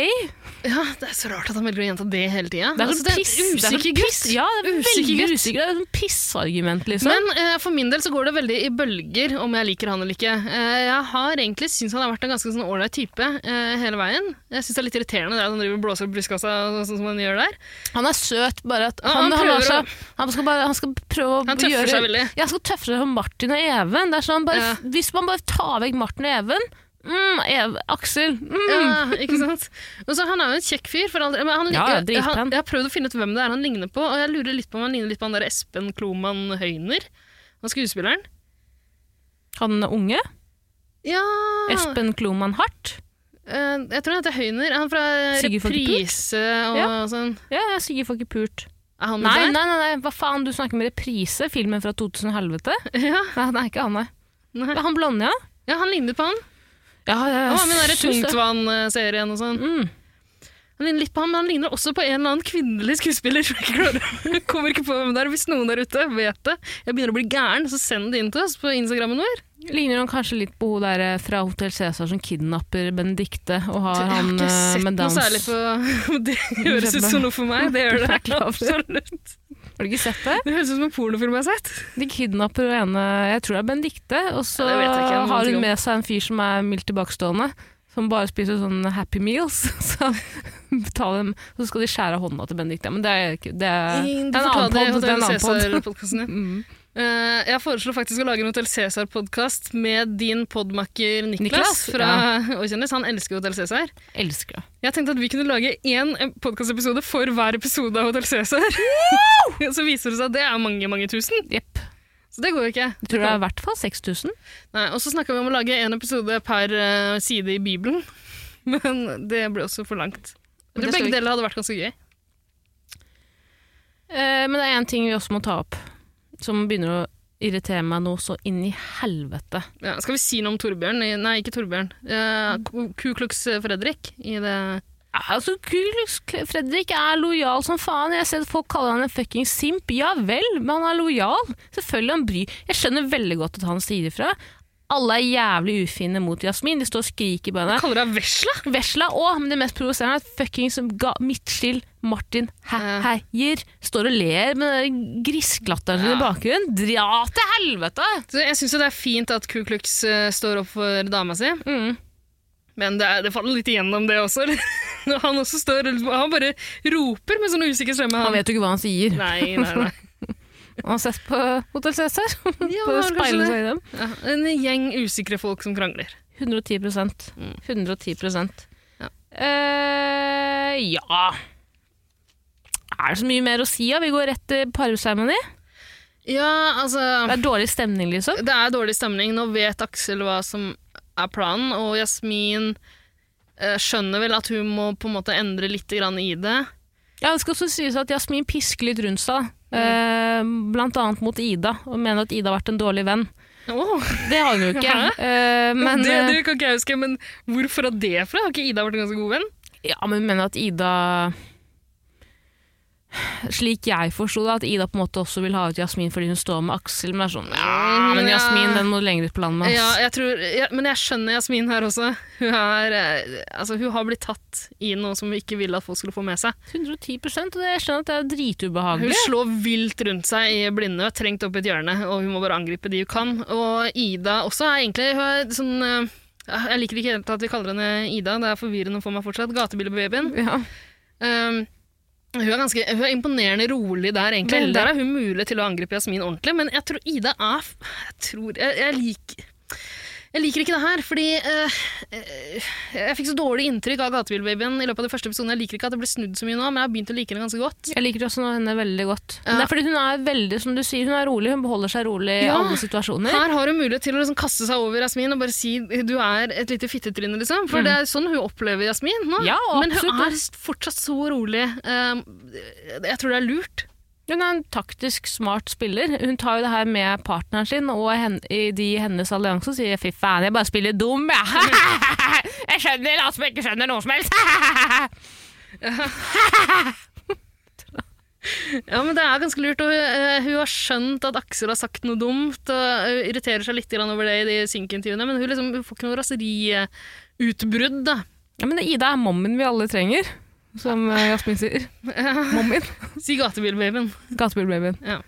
ja, det er så rart at han velger å gjenta det hele tida.
Det er
Altså,
sånn piss.
en
det er sånn
usikker
piss.
gutt.
Ja, det er
Usikker
veldig
gutt.
usikker. Det er et sånn pissargument, liksom.
Men eh, for min del så går det veldig i bølger om jeg liker han eller ikke. Eh, jeg har egentlig syntes han har vært en ganske sånn ålreit type eh, hele veien. Jeg syns det er litt irriterende det at han driver og blåser opp brystkassa og sånn som han gjør der.
han er søt, bare at han,
Ja, han
han,
prøver
har seg- han, skal bare, han skal prøve å
Han tøffer
gjøre
seg veldig.
Ja, han skal tøffe seg som Martin og Even. Det er sånn, bare,
Ja.
Hvis man bare tar vekk Martin og Even mm, Ev, Aksel mm.
Ja, ikke sant? Og så Han er jo en kjekk fyr. For all del, men han,
Ja,
ligner-
dritpen.
han, jeg har prøvd å finne ut hvem det er han ligner på, og jeg lurer litt på om han ligner litt på han der Espen Kloman Høyner. Han skuespilleren.
Han er unge.
Ja
Espen Kloman Hart.
eh, Jeg tror han heter Høyner. Han fra
Sigurd Falkenberg?
Reprise og
Ja.
sånn.
Ja, ja, Sigurd får ikke pult.
Er han
Nei,
der?
nei, nei, nei, hva faen, du snakker med reprise? Filmen fra 2000 [LAUGHS] helvete?
Ja,
Nei, det er ikke han, nei.
Nei.
Det er Han blonde, ja?
ja, han ligner på han.
Ja, ja,
Han var med i den der
synes det.
Tungtvann-serien og sånn.
Mm.
Han ligner litt på ham, men han ligner også på en eller annen kvinnelig skuespiller. [LAUGHS] som jeg ikke klarer- Jeg kommer ikke på hvem det er. Hvis noen der ute vet det, jeg begynner å bli gæren, så send det inn til oss på Instagrammen vår.
Ligner han kanskje litt på hun der eh, fra Hotel Cæsar som kidnapper Benedicte og har
jeg har
han
ikke
eh,
sett
med
noe
Downs?
særlig på [LAUGHS] Det høres ut som noe for meg. Det
[LAUGHS]
gjør det. Absolutt.
Har du ikke sett det?
Det høres ut som en pornofilm jeg har sett.
De kidnapper hun ene, jeg tror det er Benedicte, og så
Ja, det vet jeg ikke, jeg har noen
har
ting om.
hun med seg en fyr som er mildt tilbakestående. Som bare spiser sånne Happy Meals. [LAUGHS] Så, betaler dem, så Eh,
[LAUGHS]
skal de skjære av hånda til Benedicte. Men det er, ikke- det er, det er en annen pod. Det er en annen pod.
podkasten Eh, jeg foreslår faktisk å lage en Hotell Cæsar-podkast med din podmakker Niklas,
Niklas,
fra [LAUGHS] Åkjendis. Han elsker Hotell Cæsar.
Elsker det.
Jeg tenkte at vi kunne lage én podkastepisode for hver episode av Hotell Cæsar. [LAUGHS] Så viser det seg at det er mange, mange tusen.
Jepp.
Så det går jo ikke.
Jeg tror det er i hvert fall 6000.
Nei, og så snakka vi om å lage én episode per eh, side i Bibelen, [LAUGHS] men det ble også for langt. Jeg
Men det
tror
skal
begge
vi-
deler hadde vært ganske gøy.
Eh, men det er én ting vi også må ta opp, som begynner å irritere meg nå så inn i helvete.
Ja, skal vi si noe om Torbjørn? i- Nei, ikke Torbjørn. Eh, Ku- Ku Klux eh, Fredrik i det
Altså, Kulux Fredrik er lojal som faen. Jeg ser at folk kaller han en fucking simp. Ja vel, men han er lojal. Selvfølgelig han bryr. Jeg skjønner veldig godt at han sier ifra. Alle er jævlig ufine mot Jasmin. De står og skriker på henne.
Kaller deg vesla?
Vesla òg, men det mest provoserende er at fuckings ga midtskill Martin
Ja.
he- heier. Står og ler med den der griskelatteren sin i bakgrunnen. Dra til helvete!
Så jeg syns jo det er fint at Ku Klux eh, står opp for dama si,
Mm.
men det, er, det faller litt igjennom, det også. eller? [LAUGHS] Når han også står Han bare roper med sånn usikker stemme.
Han vet jo ikke hva han sier.
Nei, nei, nei.
Han har sett på Hotell Cæsar.
[LAUGHS] Ja,
på
kanskje
speilene
det.
seg i dem.
Ja, en gjeng usikre folk som krangler.
110 110
Mm. Ja.
Eh, ja. Er det så mye mer å si? Ja? Vi går rett til parseremoni.
Ja, altså
Det er dårlig stemning, liksom.
Det er dårlig stemning. Nå vet Aksel hva som er planen, og Jasmin eh, skjønner vel at hun må på en måte endre litt grann i det.
Ja, det skal også sies at Jasmin pisker litt rundt seg.
Mm.
eh, blant annet mot Ida, og mener at Ida har vært en dårlig venn.
Åh,
Det har hun jo
[LAUGHS]
ikke. Eh, men,
det,
eh,
det kan ikke jeg huske, men hvorfor har det fra? Har ikke Ida vært en ganske god venn?
Ja, men hun mener at Ida Slik jeg forsto det, at Ida på en måte også vil ha ut Jasmin fordi hun står med Aksel. Men det er sånn, ja, men
Ja.
Jasmin den må lenger ut på landet. ass.»
Ja, jeg tror, ja, men jeg skjønner Jasmin her også. Hun, er, eh, altså, hun har blitt tatt i noe som hun ikke ville at folk skulle få med seg.
110 og det, jeg skjønner at det er
Hun
dritubehagelig.
slår vilt rundt seg i blinde, og er trengt opp i et hjørne, og hun må bare angripe de hun kan. Og Ida også er egentlig hun er sånn eh, Jeg liker ikke helt at vi kaller henne Ida, det er forvirrende for meg fortsatt. Gatebilbabyen.
Ja.
Um, hun er, ganske, hun er imponerende rolig der, egentlig.
Veldig.
Der er hun mulig til å angripe Jasmin ordentlig, men jeg tror Ida er f- Jeg tror Jeg, jeg liker jeg liker ikke det her, fordi eh, eh, jeg fikk så dårlig inntrykk av Gatebilbabyen i løpet av de første episodene. Jeg liker ikke at det ble snudd så mye nå, men jeg har begynt å like henne ganske godt.
Jeg liker også henne veldig godt. Men
Ja.
Det er fordi hun er veldig, som du sier, hun er rolig. Hun beholder seg rolig i
Ja.
alle situasjoner.
Her har hun mulighet til å liksom kaste seg over Jasmin og bare si du er et lite fittetryne, liksom. For det er sånn hun opplever Jasmin nå.
Mm. Ja,
Men hun
absolutt.
er fortsatt så rolig. Um, jeg tror det er lurt.
Hun er en taktisk smart spiller. Hun tar jo det her med partneren sin og hen, i de i hennes allianse og sier fy faen, jeg bare spiller dum, jeg. [LAUGHS] Jeg skjønner at som ikke skjønner noe som helst. [LAUGHS]
Ja, men det er ganske lurt. Og eh, hun har skjønt at Aksel har sagt noe dumt, og hun irriterer seg litt grann over det i de synkintervjuene, men hun, liksom, hun får ikke noe raseriutbrudd, da.
Ja, men Ida er mommen vi alle trenger, som eh, Jasmin sier. Mommen.
Si gatebilbabyen.
Gatebilbabyen.
Ja.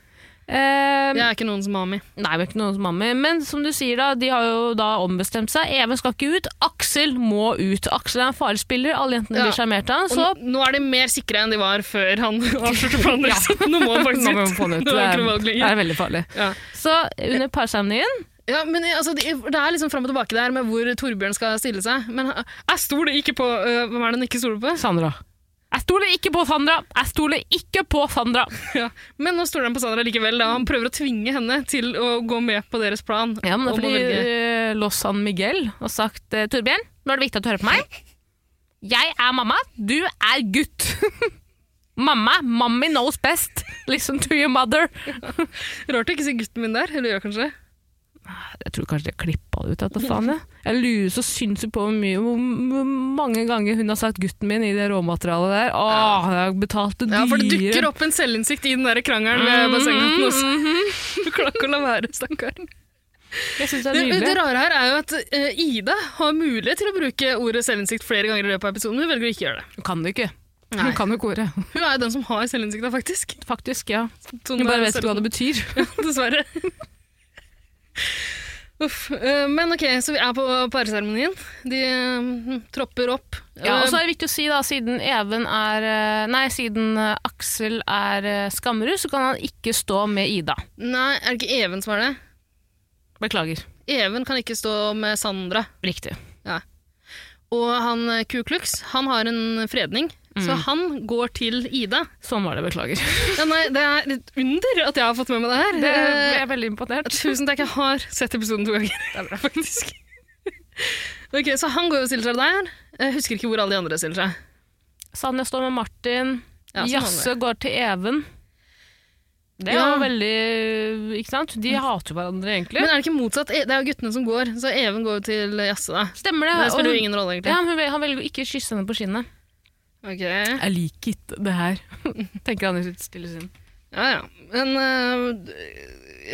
Eh,
Jeg er ikke noens mami.
Nei, vi er ikke noen som mammi. Men som du sier, da, de har jo da ombestemt seg. Even skal ikke ut, Aksel må ut. Aksel er en farlig spiller, alle jentene
Ja.
blir sjarmert av han.
Og
Så
n- nå er de mer sikre enn de var før han [LAUGHS] avslørte planen. liksom. Nå må han
[LAUGHS]
faktisk
Nå
ut. [LAUGHS]
må vi få den ut.
Nå
Det
er det ikke noe
er,
valg
det
lenger.
er veldig farlig.
Ja.
Så under parseremonien
Ja, men altså, det, det er liksom fram og tilbake der med hvor Torbjørn skal stille seg. Men han- jeg stoler ikke på øh, Hvem er det han ikke stoler på? [LAUGHS]
Sandra. Jeg stoler ikke på Sandra! Jeg stoler ikke på Sandra!
Ja. Men nå stoler han på Sandra likevel. Da. Han prøver å tvinge henne til å gå med på deres plan.
Ja, men det er
om å
fordi
velge.
eh, Los San Miguel har sagt eh, Torbjørn, nå er det viktig at du hører på meg. Jeg er mamma, du er gutt. [LAUGHS] mamma, mommy knows best. Listen to your mother.
Rart å ikke si gutten min der. Eller gjør kanskje?
Jeg tror kanskje de klippa det ut. Etter faen, jeg. jeg lurer så sinnssykt på hvor, mye, hvor hvor mange ganger hun har sagt 'gutten min' i det råmaterialet der. Åh, jeg har betalt det dyre. Mm.
Ja, for det dukker opp en selvinnsikt i den der krangelen ved bassenget også. [LAUGHS] Du klarer ikke å la være, stakkaren.
Jeg synes det er
Det, det
nydelig.
rare her er jo at eh, Ida har mulighet til å bruke ordet selvinnsikt flere ganger i løpet av episoden, men hun velger å ikke gjøre det.
Hun kan det ikke.
Nei.
Hun kan jo ikke ordet.
Hun er jo den som har selvinnsikta, faktisk.
Faktisk, ja.
Sånn
Hun bare
[LAUGHS] er
vet ikke hva det betyr.
Dessverre. Uff. eh, Men ok, så vi er på pareseremonien. De eh, tropper opp.
[LAUGHS] Ja,
Eh,
og så er det viktig å si da, siden Even er eh, Nei, siden eh, Aksel er eh, Skammerud, så kan han ikke stå med Ida.
Eh, Nei, er det ikke Even som er det?
Beklager.
Even kan ikke stå med Sandra.
Riktig.
Og han eh, Ku Klux, han har en fredning,
Mm.
så han går til Ida.
Sånn var det. Beklager. [LAUGHS]
Ja, nei, det er et under at jeg har fått med meg det her.
Det
Eh,
jeg er veldig [LAUGHS] imponert.
Tusen takk, jeg har sett episoden to ganger. Det er bra, [LAUGHS] faktisk. ok, Så han går og stiller seg der. Jeg husker ikke hvor alle de andre stiller seg.
Sanja står med Martin.
Ja, sånn
Jasse går til Even. Det er
Ja.
jo veldig Ikke sant? De hater jo hverandre, egentlig.
Mm. Men er det ikke motsatt? E- Det er jo guttene som går, så Even går jo til Jasse, da.
Stemmer det.
Det
og
spiller
hun-
jo ingen rolle, egentlig.
ja, men hun vel- han velger å ikke kysse henne på kinnet.
Ok,
Jeg liker ikke det [LAUGHS] her, tenker han i sitt stille sinn.
ja, ja. Men øh, d-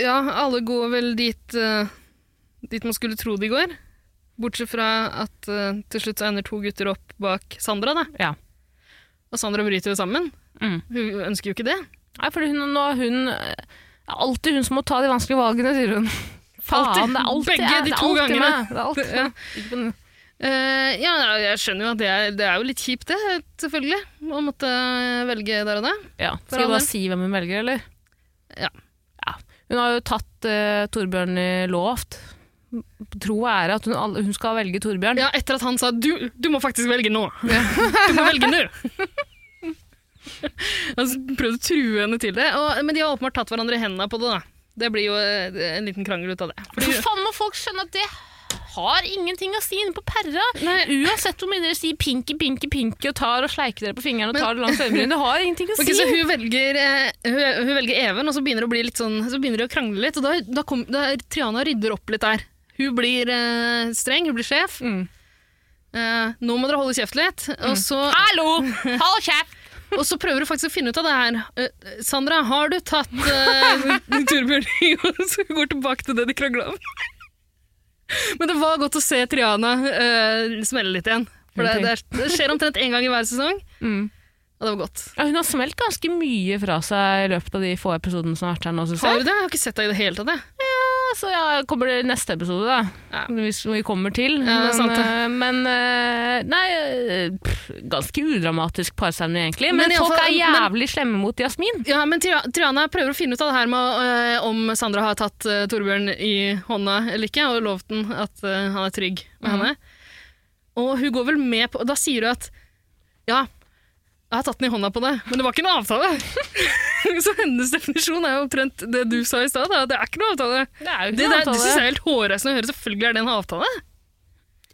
ja, alle går vel dit, øh, dit man skulle tro de går. Bortsett fra at øh, til slutt så ender to gutter opp bak Sandra, da.
Ja.
Og Sandra bryter jo sammen.
Mm.
Hun ønsker jo
[LAUGHS]
ikke det.
Nei, for hun, nå er hun Det er alltid hun som må ta de vanskelige valgene, sier hun. Faen, det er alltid
Begge
jeg,
de
det er
to
alltid
gangene.
meg, Det er alltid
Ja.
meg. Ikke på den-
Eh, ja, jeg skjønner jo at det er, det er jo litt kjipt det, selvfølgelig, å måtte velge der og da.
Ja. Skal vi
all del.
bare si hvem hun velger, eller?
Ja.
Ja. Hun har jo tatt eh, Torbjørn i lovt. Tro og ære at hun, all- hun skal velge Torbjørn.
Ja, etter at han sa du, du må faktisk velge nå. [LAUGHS] Du må velge nå. [LAUGHS] Han prøvde å true henne til det, og, men de har åpenbart tatt hverandre i hendene på det. da. Det blir jo eh, en liten krangel ut av det.
For faen må folk skjønne at det har ingenting å si inne på perra.
Nei.
Uansett hvor mye dere sier pinky, pinky, pinky og tar og sleiker dere på fingeren og tar det langs øyebrynene, det har ingenting å si.
Ok, så hun velger, eh, hun, hun velger Even, og så begynner, det å bli litt sånn, så begynner de å krangle litt. Og da, da, kom, da Triana rydder opp litt der. Hun blir eh, streng, hun blir sjef.
Mm.
Eh, nå må dere holde kjeft litt. Og så,
Hallo!
[LAUGHS]
Hold kjeft!
og så prøver du faktisk å finne ut av det her. Eh, Sandra, har du tatt
[LAUGHS]
eh, Torbjørn i og så går tilbake til det de krangla om? [LAUGHS] Men det var godt å se Triana eh, smelle litt igjen. For det, det, er, det skjer omtrent én gang i hver sesong,
Mm.
og det var godt.
Ja, hun har smelt ganske mye fra seg i løpet av de få episodene som har vært her nå, synes
Har
jeg.
du det? Jeg har ikke sett deg i det hele tatt. jeg.
Ja, så ja, kommer det neste episode, da.
Ja.
Hvis vi kommer til.
Ja, det er sant, det.
eh, men eh, Nei, eh, pff, ganske udramatisk parseremoni, egentlig. Men,
Men i alle
folk
fall-
er jævlig slemme mot Jasmin.
Ja, men Tri- Triana prøver å finne ut av det her med eh, om Sandra har tatt eh, Torbjørn i hånda eller ikke, og lovt den at eh, han er trygg med henne. Og hun går vel med på Da sier hun at ja, jeg har tatt den i hånda på deg, men det var ikke noe avtale. [LAUGHS] Så hennes definisjon er jo omtrent det du sa i stad, da, at det er ikke noe avtale.
Det er jo
Det, der- det syns jeg er helt hårreisende å høre. Selvfølgelig er det en avtale.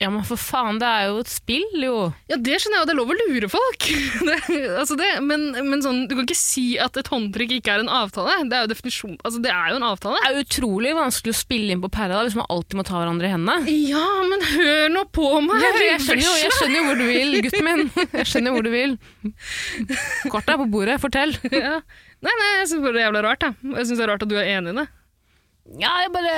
Ja, men for faen, det er jo et spill, jo.
Ja, det skjønner jeg, og det er lov å lure folk. [LAUGHS] Det, altså det, men men sånn, du kan ikke si at et håndtrykk ikke er en avtale. Det er jo definisjon, altså det er jo en avtale.
Det er utrolig vanskelig å spille inn på pæra da, hvis man alltid må ta hverandre i hendene.
Ja, men hør nå på meg!
Jeg,
du
jeg, skjønner jo, jeg skjønner jo hvor du vil, gutten min. Jeg skjønner jo hvor du vil. Kortet er på bordet, fortell.
bæsj. Ja. Nei, nei, jeg syns bare det er jævla rart. Jeg, jeg synes det er rart at du er enig i det.
Ja, jeg bare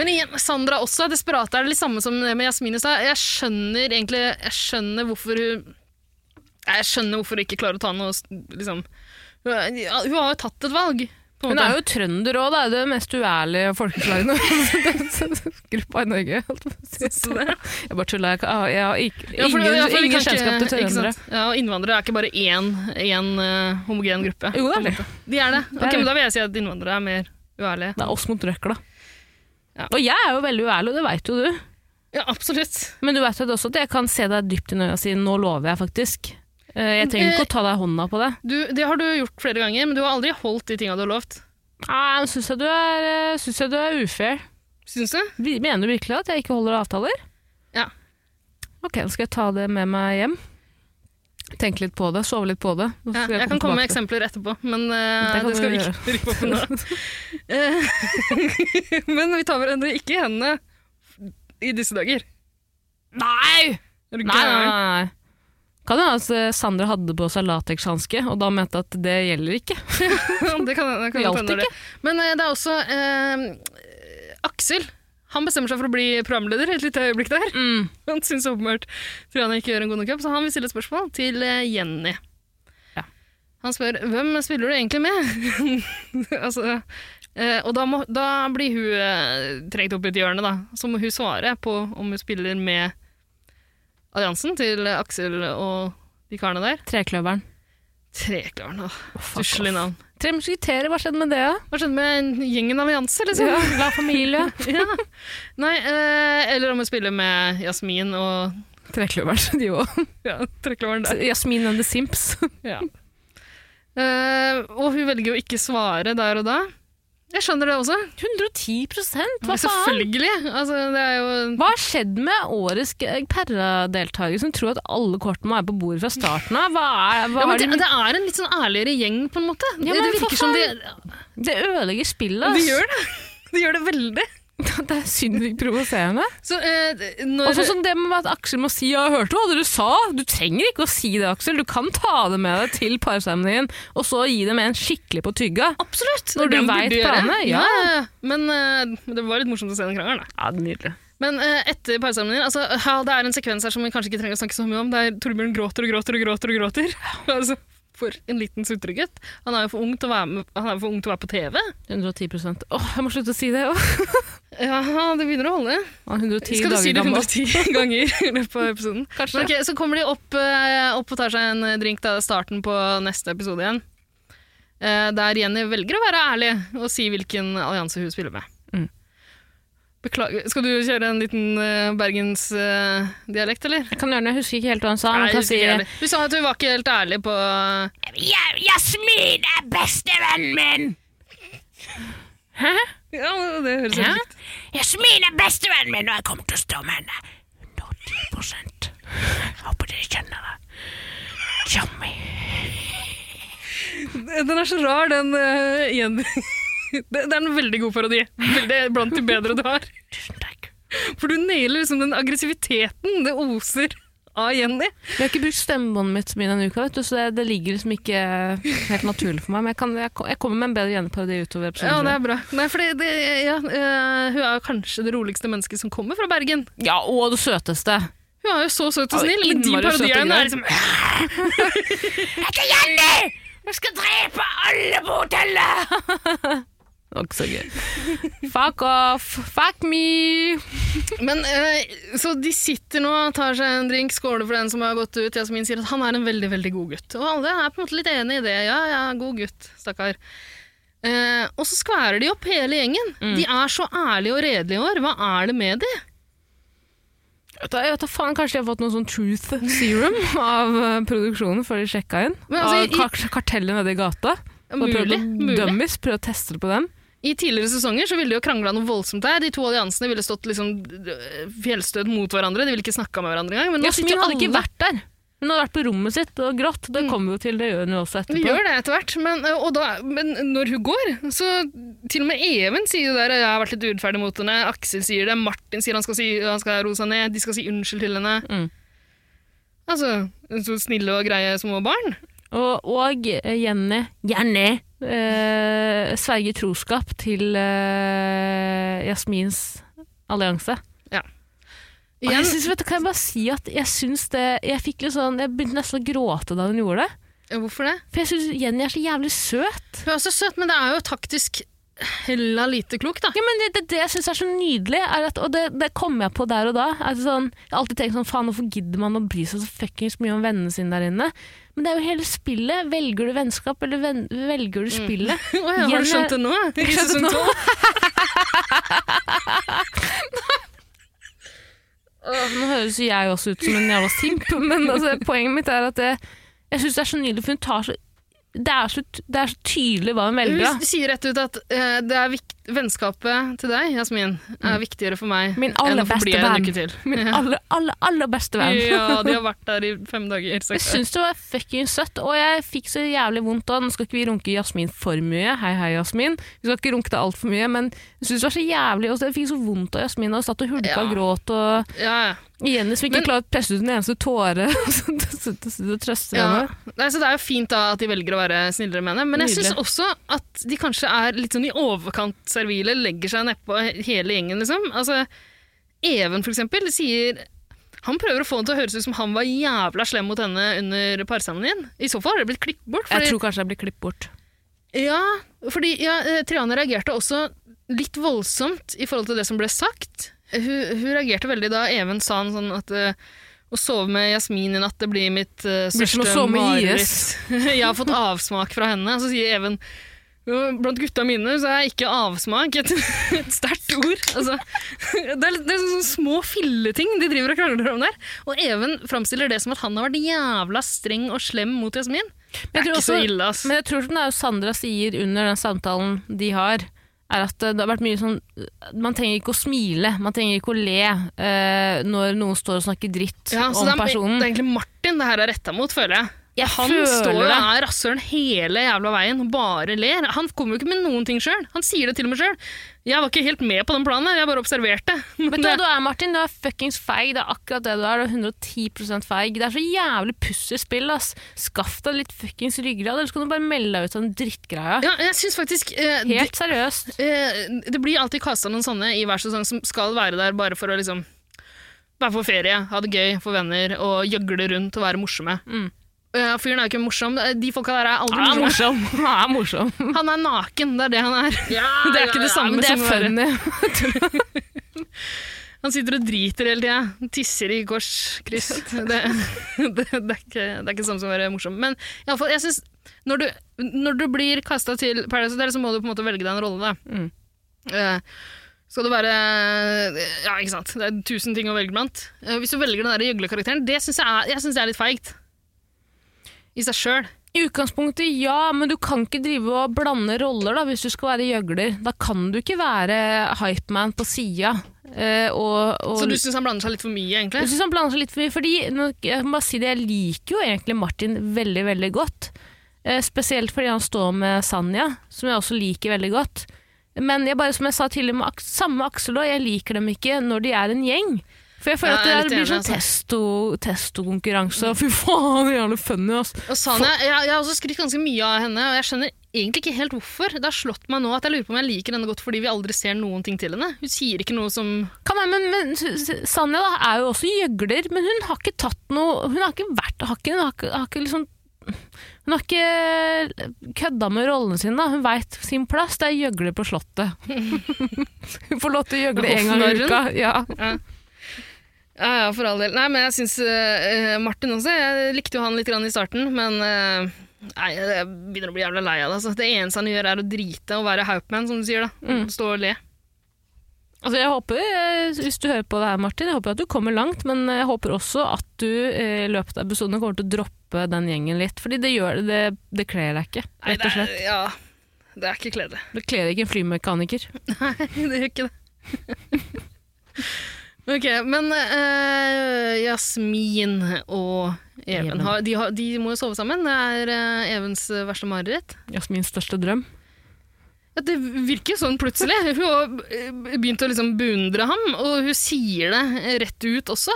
Men igjen, Sandra også er desperat. Det er det litt samme som med Jasmin i stad. Jeg skjønner egentlig jeg skjønner hvorfor hun Nei, Jeg skjønner hvorfor hun ikke klarer å ta noe liksom. Hun er- ja, hun har jo tatt et valg. På en
Hun er
måte.
jo trønder òg, det er jo det mest uærlige folkeslaget [LAUGHS] gruppa i Norge. holdt jeg på å si. Jeg bare tulla. Jeg, kan- jeg har ikke,
Ja, for-
ingen,
ja,
ingen
for vi kan ikke-
kjennskap til
ikke
trøndere.
sant? Ja, og innvandrere er ikke bare én, én eh, homogen gruppe.
Jo, det er det.
De er det.
er
Ok,
det.
men Da vil jeg si at innvandrere er mer uærlige.
Det er oss mot røkla.
Ja.
Og jeg er jo veldig uærlig, og det veit jo du.
Ja, absolutt.
Men du veit jo også at jeg kan se deg dypt i øya og si 'nå lover jeg', faktisk. Eh, Jeg trenger ikke å ta deg i hånda på det.
Du, det har du gjort flere ganger, men du har aldri holdt de tinga du har lovt.
Nei, Nå syns jeg du er, eh, synes jeg du er ufair.
Syns du?
Vi- Mener du virkelig at jeg ikke holder avtaler?
Ja.
Ok, da skal jeg ta det med meg hjem. Tenke litt på det, sove litt på det. Så
Ja,
skal
jeg kan komme med
tilbake til det.
eksempler etterpå, men eh,
Det kan
det skal
du
vi ikke rippe opp nå.
[LAUGHS]
Eh, [LAUGHS] men vi tar hverandre ikke i hendene i disse dager.
Nei!
Er du
Nei, nei,
gæren?
nei. Kan det hende at Sandra hadde på seg latekshanske, og da mente at det gjelder ikke?
[LAUGHS] det kan
Det
det kan
gjaldt
godt hende det. Men eh, det er også eh, Aksel. Han bestemmer seg for å bli programleder et lite øyeblikk der.
Mm.
[LAUGHS] Han syns åpenbart Triana ikke gjør en god nok jobb, så han vil stille et spørsmål til eh, Jenny.
Ja.
Han spør hvem spiller du egentlig med? [LAUGHS] altså, Eh, og da, må, da blir hun eh, trengt opp i et hjørne, da. Så må hun svare på om hun spiller med alliansen til Aksel og de karene der.
Trekløveren.
Treklaren, da.
fuck
Stusslig
off.
navn.
Tre musketerer, hva skjedde med det? da?
Hva skjedde med gjengen allianse, liksom?
Ja, La familie.
[LAUGHS] Ja. Nei, eh, eller om hun spiller med Jasmin og
[LAUGHS] Trekløveren, de òg.
ja, trekløveren der.
Jasmin and the
[LAUGHS]
Simps.
Ja. Eh, og hun velger å ikke svare der og da. Jeg skjønner det også.
110 Hva faen?
Selvfølgelig. Altså, det er jo
Hva har skjedd med årets Perra-deltaker som tror at alle kortene er på bordet fra starten av? Hva er, hva
ja, men
har
det,
de,
det er en litt sånn ærligere gjeng, på en måte.
Ja,
det
men for
virker som de,
faen. det ødelegger spillet. ass.
de
[LAUGHS]
gjør det. [LAUGHS] De gjør det veldig.
Det er synd
[LAUGHS]
provoserende.
Så eh,
Og
når
sånn som det med at Aksel må si 'jeg hørte hva dere sa'. Du trenger ikke å si det, Aksel. Du kan ta det med deg til parseremonien, og så gi dem en skikkelig på tygga.
Absolutt!
når
det
du
burde
vet
gjøre.
planene, ja.
Men eh, det var litt morsomt å se den krangelen, da.
Ja, nydelig.
Men eh, etter parsamlinger altså, ja, Det er en sekvens her som vi kanskje ikke trenger å snakke så mye om. Der Torbjørn gråter og gråter og gråter. og gråter. [LAUGHS] altså, for en liten sutregutt. Han er jo for ung til å være, med, han er jo for ung til å være på TV.
110 Åh, jeg må slutte [LAUGHS] å si det. Åh.
Ja, det begynner å holde.
Han er 110
Vi skal
dager
si det
gammel.
110 [LAUGHS] ganger i løpet av episoden.
Kanskje.
Men ok, så kommer de opp, eh, opp og tar seg en drink. Det er starten på neste episode igjen. Eh, Der Jenny velger å være ærlig og si hvilken allianse hun spiller med.
Mm.
Beklager. Skal du kjøre en liten eh, bergensdialekt, eller?
Jeg kan gjøre det, jeg husker ikke helt hva han sa. men
Nei,
jeg kan
jeg husker
si
ikke heller. Du sa at hun var ikke helt ærlig på
Jasmin er bestevennen min!
Hæ?
Ja, det høres
Hæ?
helt likt
Jasmin er bestevennen min, og jeg kommer til å stå med henne. 110 Jeg Håper dere skjønner det. Jammi.
Den er så rar, den uh, Jenny. Det det er en veldig god parodi. Veldig blant de bedre du har.
Tusen takk.
For du nailer liksom den aggressiviteten det oser av Jenny.
Jeg har ikke brukt stemmebåndet mitt så mye denne uka, vet du, så det, det ligger liksom ikke helt naturlig for meg. Men jeg, kan, jeg, ko- jeg kommer med en bedre gjenparodi utover episoden.
Ja, det
tror jeg.
er bra. Nei, fordi det, ja, eh, hun er jo kanskje det roligste mennesket som kommer fra Bergen.
ja, og det søteste.
Hun er jo så søt og
Ja,
snill, men de
innmari søt og
parodiene
glad.
er liksom [LAUGHS]
Jeg heter Jenny! Jeg skal drepe alle på
[LAUGHS]
hotellet!
Det var ikke så gøy. Fuck off. Fuck me.
Men eh, Så de sitter nå, tar seg en drink, skåler for den som har gått ut. Jasmin sier at han er en veldig veldig god gutt. Og alle er på en måte litt enig i det. Ja, ja, god gutt, stakkar. Eh, og så skværer de opp hele gjengen.
Mm.
De er så ærlige og redelige i år. Hva er det med de?
Da, jeg vet da faen, Kanskje de har fått noe sånn truth serum av eh, produksjonen før de sjekka inn?
Men altså,
av kar kartellet nede i gata? Og prøvd
Mulig.
å
mulig.
dummies, prøvd å teste det på dem?
I tidligere sesonger så ville de jo krangla noe voldsomt der. De to alliansene ville stått liksom øh, fjellstøt mot hverandre. De ville ikke snakka med hverandre engang. Men nå sitter
Jasmin
jo
hadde
alle
ikke vært der. Hun hadde vært på rommet sitt og grått. Det kommer vi jo til, det gjør hun jo også etterpå.
Vi gjør det etter hvert, men, eh, og da, men når hun går, så til og med Even sier jo der jeg har vært litt urettferdig mot henne, Aksel sier det, Martin sier han skal, si, han skal roe seg ned, de skal si unnskyld til henne.
Mm.
Altså, så snille og greie små barn.
Og, og eh, Jenny Jenny! Eh, sverger troskap til eh, Jasmins allianse. Og
Igjen,
jeg synes, vet du, kan jeg bare si at jeg syns det Jeg fikk litt sånn, jeg begynte nesten å gråte da hun gjorde det.
hvorfor det?
For jeg syns Jenny er så jævlig søt.
Hun er så søt, men det er jo taktisk hella lite klok, da.
Ja, men Det, det, det jeg syns er så nydelig, er at, og det, det kom jeg på der og da er det sånn, Jeg har alltid tenkt sånn, faen hvorfor gidder man å bry seg så fuckings mye om vennene sine der inne? Men det er jo hele spillet. Velger du vennskap, eller ven, velger du spillet? [LAUGHS]
Å ja, har
Jenny-
du skjønt det nå? I
skjønte det
sesong
nå.
to?
Åh, Nå høres jo jeg også ut som en jævla simp, [LAUGHS] men altså, poenget mitt er at det, jeg syns det er så nydelig, for hun tar så det er, så, det er så tydelig hva hun velger.
Hun
Da.
sier rett ut at eh, det er vikt, vennskapet til deg, Jasmin, er viktigere for meg
Mm. Min aller
enn å få bli
beste
en
venn.
uke til.
Min aller, aller, aller beste [LAUGHS] venn.
Ja, de har vært der i fem dager. seks
Jeg [LAUGHS]
dager.
syns det var fucking søtt, og jeg fikk så jævlig vondt da. Nå skal ikke vi runke Jasmin for mye, hei hei Jasmin. Vi skal ikke runke deg altfor mye, men jeg syns det var så jævlig, og så- jeg fikk så vondt av Jasmin, og satt og hulka
Ja.
og gråt, og
Ja, ja.
Jenny som ikke
Men-
klarte å presse ut en eneste tåre, [LAUGHS] så det- så det så det trøster
ja.
henne.
Nei, så det er jo fint da at de velger å være snillere med henne, men jeg
Nydelig.
syns også at de kanskje er litt sånn i overkant servile, legger seg nedpå hele gjengen, liksom. Altså, Even, for eksempel, sier han prøver å få henne til å høres ut som han var jævla slem mot henne under parsammenhengen. I så fall har det blitt klippet bort.
Jeg
fordi-
tror kanskje jeg blir klippet bort.
Ja, fordi ja, eh, Triana reagerte også litt voldsomt i forhold til det som ble sagt. Hun, hun reagerte veldig da Even sa han sånn at eh, å sove med Jasmin i natt, det blir mitt eh,
Blir som å
største
sove med
mareritt.
IS.
[LAUGHS] Jeg har fått avsmak fra henne. Så sier Even «Jo, Blant gutta mine så er ikke avsmak et, [LAUGHS] et sterkt ord. Altså, [LAUGHS] det er, litt- det er sånne små filleting de driver og krangler om der. Og Even framstiller det som at han har vært jævla streng og slem mot Jasmin. Det
Men jeg
er
tror
ikke så
også-
ille, ass.
Men jeg tror som det er jo Sandra sier under den samtalen de har, er at det har vært mye sånn Man trenger ikke å smile, man trenger ikke å le eh, når noen står og snakker dritt
Ja, så
om
det er,
personen.
Det er egentlig Martin det her er retta mot, føler jeg.
Jeg
han
føler
står jo
det.
og er rasshølen hele jævla veien og bare ler. Han kommer jo ikke med noen ting sjøl. Han sier det til og med sjøl. Jeg var ikke helt med på den planen, her, jeg bare observerte. [LAUGHS] Men
Vet du
det,
hva du er, Martin? Du er fuckings feig. Det er akkurat det du er. Du er 110 feig. Det er så jævlig pussespill, ass. Skaff deg litt fuckings ryggrad, ellers kan du bare melde deg ut av den drittgreia.
ja, jeg syns faktisk eh, [LAUGHS] det,
Helt seriøst.
eh, det blir alltid kasta noen sånne i hver sesong som skal være der bare for å liksom være på ferie, ha det gøy, få venner og gjøgle rundt og være morsomme.
Mm.
Eh, fyren er jo ikke morsom. De folka der er aldri
Han er [LAUGHS]
morsomme.
morsom. Han er morsom.
Han er naken, det er det han er. [LAUGHS] det er ikke det samme
men det er
som å være
funny.
Han sitter og driter hele tida. Tisser i
[LAUGHS]
korskryss. Det, det, det, er ikke, det er ikke sånn som å være morsom. Men i alle fall, jeg synes, når, du, når du blir kasta til Paradise Hotel, så må du på en måte velge deg en rolle. Da.
Mm.
Eh, skal du være Ja, ikke sant. Det er tusen ting å velge blant. Eh, hvis du velger den der gjøglekarakteren, det syns jeg, er- jeg synes det er litt feigt. I seg sjøl.
I utgangspunktet ja, men du kan ikke drive og blande roller da, hvis du skal være gjøgler. Da kan du ikke være hypeman på sida. Eh, og, og,
Så du syns han blander seg litt for mye, egentlig?
Jeg synes han sånn blander seg litt for mye, fordi nå, jeg må bare si det, jeg liker jo egentlig Martin veldig, veldig godt. Eh, spesielt fordi han står med Sanja, som jeg også liker veldig godt. Men jeg bare, som jeg sa tidligere med Aks- samme Aksel også, jeg liker dem ikke når de er en gjeng. For jeg føler
Ja,
at det,
jeg er
der
litt
blir sånn
enig, altså.
testo- testokonkurranse. og Fy faen, det er jævlig funny, ass.
Og Sanja, jeg, jeg har også skrytt ganske mye av henne, og jeg skjønner egentlig ikke helt hvorfor. Det har slått meg nå at jeg lurer på om jeg liker henne godt fordi vi aldri ser noen ting til henne. Hun sier ikke noe som
Kan være, men, men S- S- Sanja da, er jo også gjøgler, men hun har ikke tatt noe Hun har ikke vært har ikke, hun, har ikke, har ikke liksom, hun har ikke eh, kødda med rollen sin. da Hun veit sin plass. Det er gjøgler på
[LAUGHS]
Slottet. hun får lov til å gjøgle en gang i
Hoffnarren?
uka. Ja.
Ja, ja, for all del. Nei, men jeg syns eh, Martin også. Jeg likte jo han litt grann i starten, men eh, Nei, jeg begynner å bli jævla lei av det. Altså. Det eneste han gjør, er å drite og være Haupman, som du sier. da. Stå og le.
Altså, jeg håper, eh, Hvis du hører på det her, Martin, jeg håper at du kommer langt, men jeg håper også at du eh, i løpet av episoden kommer til å droppe den gjengen litt. Fordi det gjør det, det kler deg ikke,
Nei,
rett og slett.
Det er, ja, det er ikke kledelig.
Det kler ikke en flymekaniker.
[LAUGHS] det gjør ikke det. [LAUGHS] ok, men eh, Jasmin og Even,
Even.
Har, de, har, de må jo sove sammen. Det er eh, Evens verste mareritt.
Jasmins største drøm.
Ja, det virker jo sånn plutselig. Hun har eh, begynt å liksom beundre ham, og hun sier det rett ut også.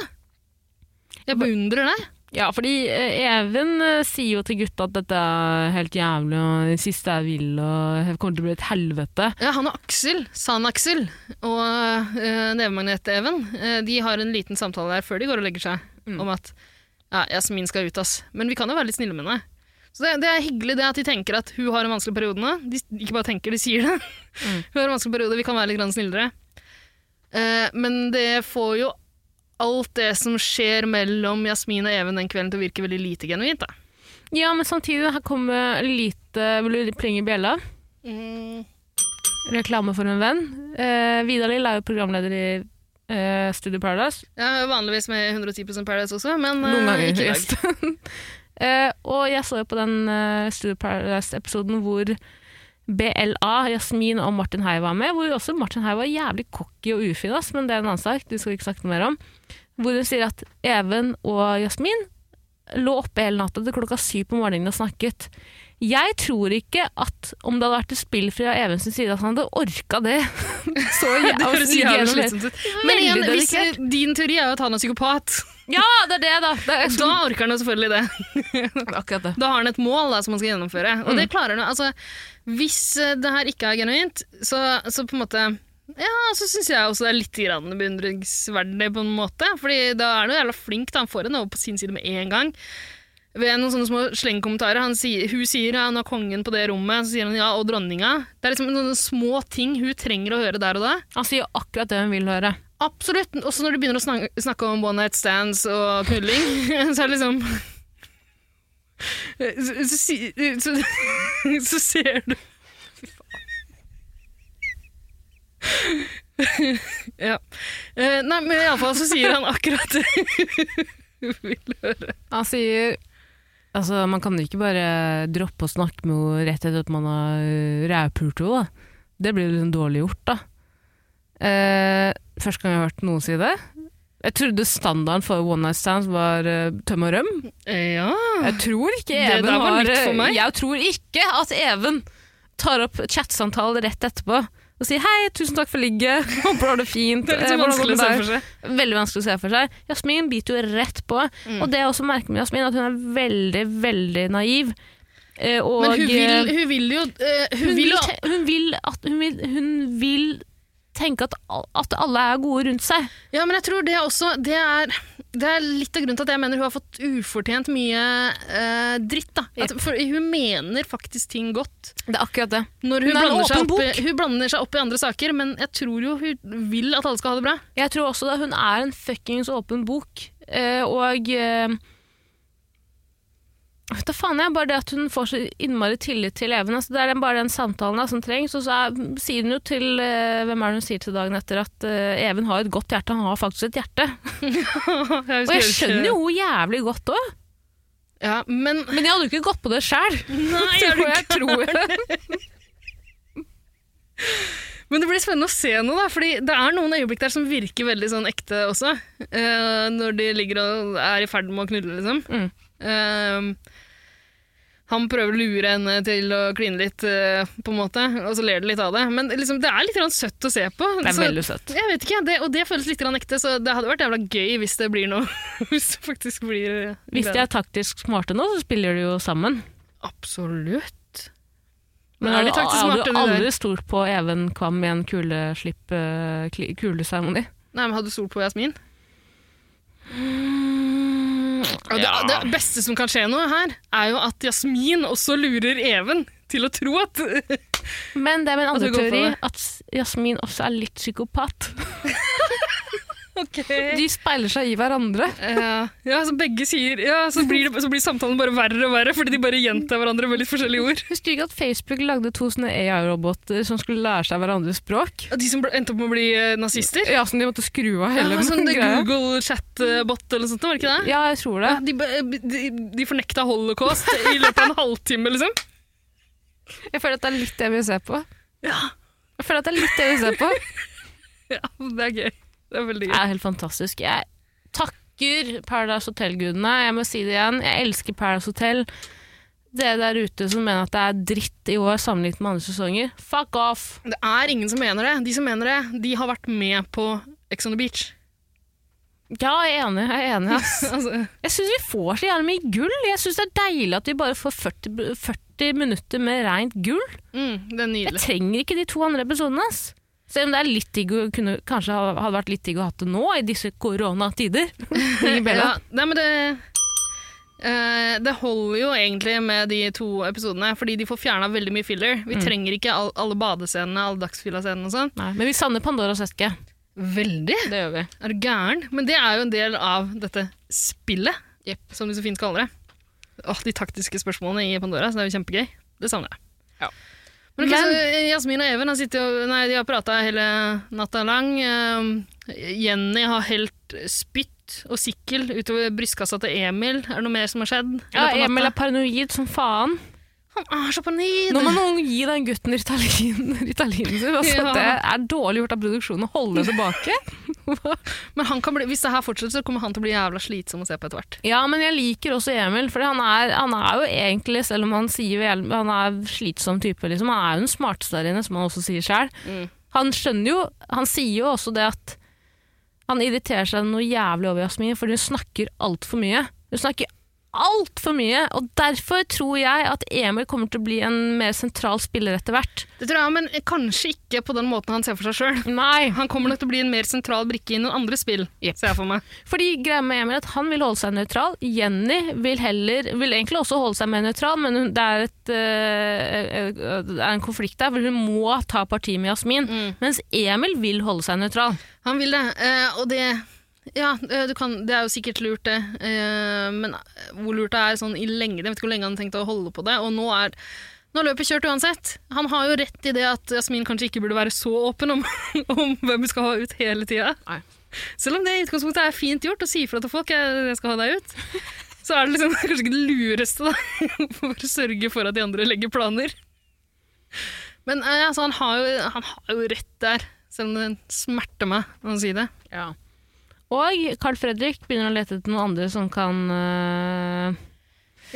Jeg beundrer deg.
Ja, fordi eh, Even eh, sier jo til gutta at dette er helt jævlig, og det siste jeg vil, og det kommer til å bli et helvete.
Ja, han og Aksel, San-Aksel og uh, nevemagnet-Even, eh, de har en liten samtale der før de går og legger seg,
Mm.
om at ja, Jasmin skal ut, ass. Men vi kan jo være litt snille med henne. Så det, det er hyggelig det at de tenker at hun har en vanskelig periode nå. De s- ikke bare tenker, de sier det.
Mm.
[LAUGHS] hun har en vanskelig periode, vi kan være litt grann snillere. Eh, men det får jo alt det som skjer mellom Jasmin og Even den kvelden til å virke veldig lite genuint, da.
Ja, men samtidig, her kommer lite Vil du plinge i bjella? Reklame for en venn. Eh, Vidar Lill er jo programleder i eh, Studio Paradise.
Jeg er jo vanligvis med i 110 Paradise også, men eh,
Noen ganger.
ikke i dag.
Yes. Eh, og jeg så jo på den eh, Studio Paradise-episoden hvor BLA, Jasmin og Martin Hei var med. Hvor også Martin Hei var jævlig cocky og ufin, ass, men det er en annen sak. Det skal vi ikke snakke mer om. Hvor hun sier at Even og Jasmin lå oppe hele natta til klokka syv på morgenen og snakket. Jeg tror ikke at om det hadde vært et spill fra Even sin side, at han hadde orka
[LAUGHS]
det. så jævlig,
Det høres jævlig slitsomt ut. Men igjen,
Veldig
hvis eh, din teori er jo at han er psykopat,
Ja, det er det, da! Det er
da orker han jo selvfølgelig det.
akkurat det.
Da har han et mål da, som han skal gjennomføre. Og det klarer han jo. Altså, hvis eh, det her ikke er genuint, så, så på en måte ja, så syns jeg også det er litt grann beundringsverdig, på en måte. Fordi da er han jo jævla flink, da. Han får henne over på sin side med en gang. ved noen sånne små slengkommentarer. Han sier, hun sier ja, 'nå er kongen på det rommet', så sier han 'ja, og dronninga'. Det er liksom noen små ting hun trenger å høre der og da.
Han sier akkurat det hun vil høre.
Absolutt. Også når de begynner å snak snakke om one night stands og knulling, [LAUGHS] så er det liksom så, så, si- så, [LAUGHS] så ser du Fy faen. ja. Eh, Nei, men iallfall så sier han akkurat det hun vil høre.
Han sier Altså, man kan jo ikke bare droppe å snakke med henne rett etter at man har øh, rævpult henne, da. Det blir jo liksom dårlig gjort, da. Eh, første gang jeg har hørt noen si det. Jeg trodde standarden for one night stands var eh, tømme og røm.
Eh, Ja.
Jeg tror ikke
Det
Even
der
har
var
øh,
nytt for meg.
Jeg tror ikke at Even tar opp chatsamtale rett etterpå og sier 'hei, tusen takk for ligget, [LAUGHS] håper du har det fint'.
Det er
eh,
litt så
hvordan går
vanskelig å
det
se
med deg?»
for seg.
Veldig vanskelig å se for seg. Jasmin biter jo rett på.
Mm.
Og det jeg også merker med Jasmin, at hun er veldig, veldig naiv. Eh, og
Men hun vil,
eh,
hun vil jo eh, hun,
hun,
vil,
vil,
jo-
te- hun, vil at, hun, vil, hun vil tenke at, al- at alle er gode rundt seg.
Ja, men jeg tror det også Det er, det er litt av grunnen til at jeg mener hun har fått ufortjent mye eh, dritt. da. At, for hun mener faktisk ting godt.
Det er akkurat det.
Når hun,
Hun er en
blander seg
åpen
opp, i- hun blander seg opp i andre saker, men jeg tror jo hun vil at alle skal ha det bra.
Jeg tror også da hun er en fuckings åpen bok, eh, og eh, Vet da faen jeg, bare det at hun får så innmari tillit til Even. Altså, det er den, bare den samtalen da, som trengs. Og så er, sier hun jo til eh, Hvem er det hun sier til dagen etter at eh, Even har et godt hjerte? Han har faktisk et hjerte. Og jeg skjønner jo henne jævlig godt òg,
Ja, men
men jeg hadde jo ikke gått på det
[LAUGHS]
sjæl.
Nei, er du Men det blir spennende å se nå, da. Fordi det er noen øyeblikk der som virker veldig sånn ekte også. eh, når de ligger og er i ferd med å knulle, liksom.
Mm.
Eh, han prøver å lure henne til å kline litt, eh, på en måte, og så ler de litt av det. Men liksom, det er litt grann søtt å se på.
Det er
så-
veldig søtt.
Jeg vet ikke, det, Og det føles litt grann ekte, så det hadde vært jævla gøy hvis det blir noe. [LAUGHS] hvis det faktisk blir eh,
Hvis de er taktisk smarte nå, så spiller de jo sammen.
Absolutt.
Men
er de
jeg
taktisk
hadde
smarte, de
jo
der?
aldri stolt på Even Kvam i en kuleslipp, eh, kli- kuleseremoni.
Nei, men Hadde du stolt på Jasmin? Og
Ja.
det, det beste som kan skje nå her, er jo at Jasmin også lurer Even til å tro at
Men det er min andre
du går for
teori
det.
at Jasmin også er litt psykopat.
[LAUGHS] Ok.
[LAUGHS] De speiler seg i hverandre.
Eh, ja, så begge sier Ja, så blir, det, så blir samtalen bare verre og verre, fordi de bare gjentar hverandre med litt forskjellige ord.
Husker du ikke at Facebook lagde to sånne AI-roboter som skulle lære seg hverandres språk?
Og De som ble- endte opp med å bli eh, nazister?
Ja, som de måtte skru av
Ja,
hele
sånn det
greia.
Google chat-bot eller noe sånt, var det ikke det?
Ja, jeg tror det.
De, be- de, de fornekta holocaust i løpet av en halvtime, liksom.
Jeg føler at det er litt det vi ser på. Jeg føler at det er litt det vi [LAUGHS] ser på.
[LAUGHS] Ja, det er gøy. Det er veldig
Det
gøy.
er helt fantastisk. Jeg takker Paradise Hotel-gudene. Jeg må si det igjen. Jeg elsker Paradise Hotel. Dere der ute som mener at det er dritt i år sammenlignet med andre sesonger, fuck off!
Det er ingen som mener det. De som mener det, de har vært med på Ex on the [LAUGHS] Beach.
Ja, jeg er enig. Jeg er enig, ass.
Altså,
Jeg syns vi får så gjerne mye gull. Jeg syns det er deilig at vi bare får 40, b- 40 minutter med rent gull.
mm, det er
Jeg
nydelig.
trenger ikke de to andre episodene. ass. Selv om det er litt digg å kunne, kanskje ha- hadde vært litt digg å ha det nå, i disse [LAUGHS] koronatider. Ring
Ja,
Bella.
nei, men det, eh, det holder jo egentlig med de to episodene, fordi de får fjerna veldig mye filler. Vi trenger ikke all, alle badescenene, alle dagsfilla-scenene og sånn.
Nei, men vi savner Pandoras eske.
Veldig!
Det gjør vi.
Er du gæren? Men det er jo en del av dette spillet, som de så fint kaller det. Åh, de taktiske spørsmålene i Pandora, så det er jo kjempegøy. Det savner jeg. Men, ok,
Men-
så, eh, Jasmin og Even har, sittet og- nei, de har prata hele natta lang. Eh, Jenny har helt spytt og sikkel utover brystkassa til Emil. Er det noe mer som har skjedd? i
Ja,
løpet av
Emil er
natta?
paranoid som faen.
Han er så paranoid!
Nå må noen gi den gutten Ritalin, Ritalin sin. [LAUGHS] Altså,
Ja.
Det er dårlig gjort av produksjonen å holde det tilbake.
[LAUGHS] Men han kan bli, hvis det her fortsetter, så kommer han til å bli jævla slitsom å se på etter hvert.
Ja, men jeg liker også Emil, for han er, han er jo egentlig, selv om han sier vel- han er slitsom type, liksom, han er jo den smarteste der inne, som han også sier sjøl. Han skjønner jo Han sier jo også det at han irriterer seg noe jævlig over Jasmin, fordi hun snakker altfor mye. Hun snakker altfor mye, og derfor tror jeg at Emil kommer til å bli en mer sentral spiller etter hvert.
Det tror jeg, men kanskje ikke på den måten han ser for seg sjøl.
Nei,
Han kommer nok til å bli en mer sentral brikke i noen andre spill, ser jeg for meg.
fordi greia med Emil er at han vil holde seg nøytral. Jenny vil heller, vil egentlig også holde seg mer nøytral, men hun, det, er et, øh, øh, det er en konflikt der, hvor hun må ta parti med Jasmin. Mens Emil vil holde seg nøytral.
Han vil det, eh, og det ja, eh, du kan, det er jo sikkert lurt, det. eh, Men hvor lurt det er sånn i lengden Jeg vet ikke hvor lenge han har tenkt å holde på det. Og nå er nå er løpet kjørt uansett. Han har jo rett i det at Jasmin kanskje ikke burde være så åpen om, [LAUGHS] om hvem hun skal ha ut hele tida.
Nei.
Selv om det i utgangspunktet er fint gjort å si ifra til folk jeg, jeg skal ha deg ut, så er det liksom [LAUGHS] kanskje ikke det lureste da, [LAUGHS] for å sørge for at de andre legger planer. Men eh, altså, han, har jo, han har jo rett der, selv om det smerter meg å si det.
Og Carl Fredrik begynner å lete etter noen andre som kan øh,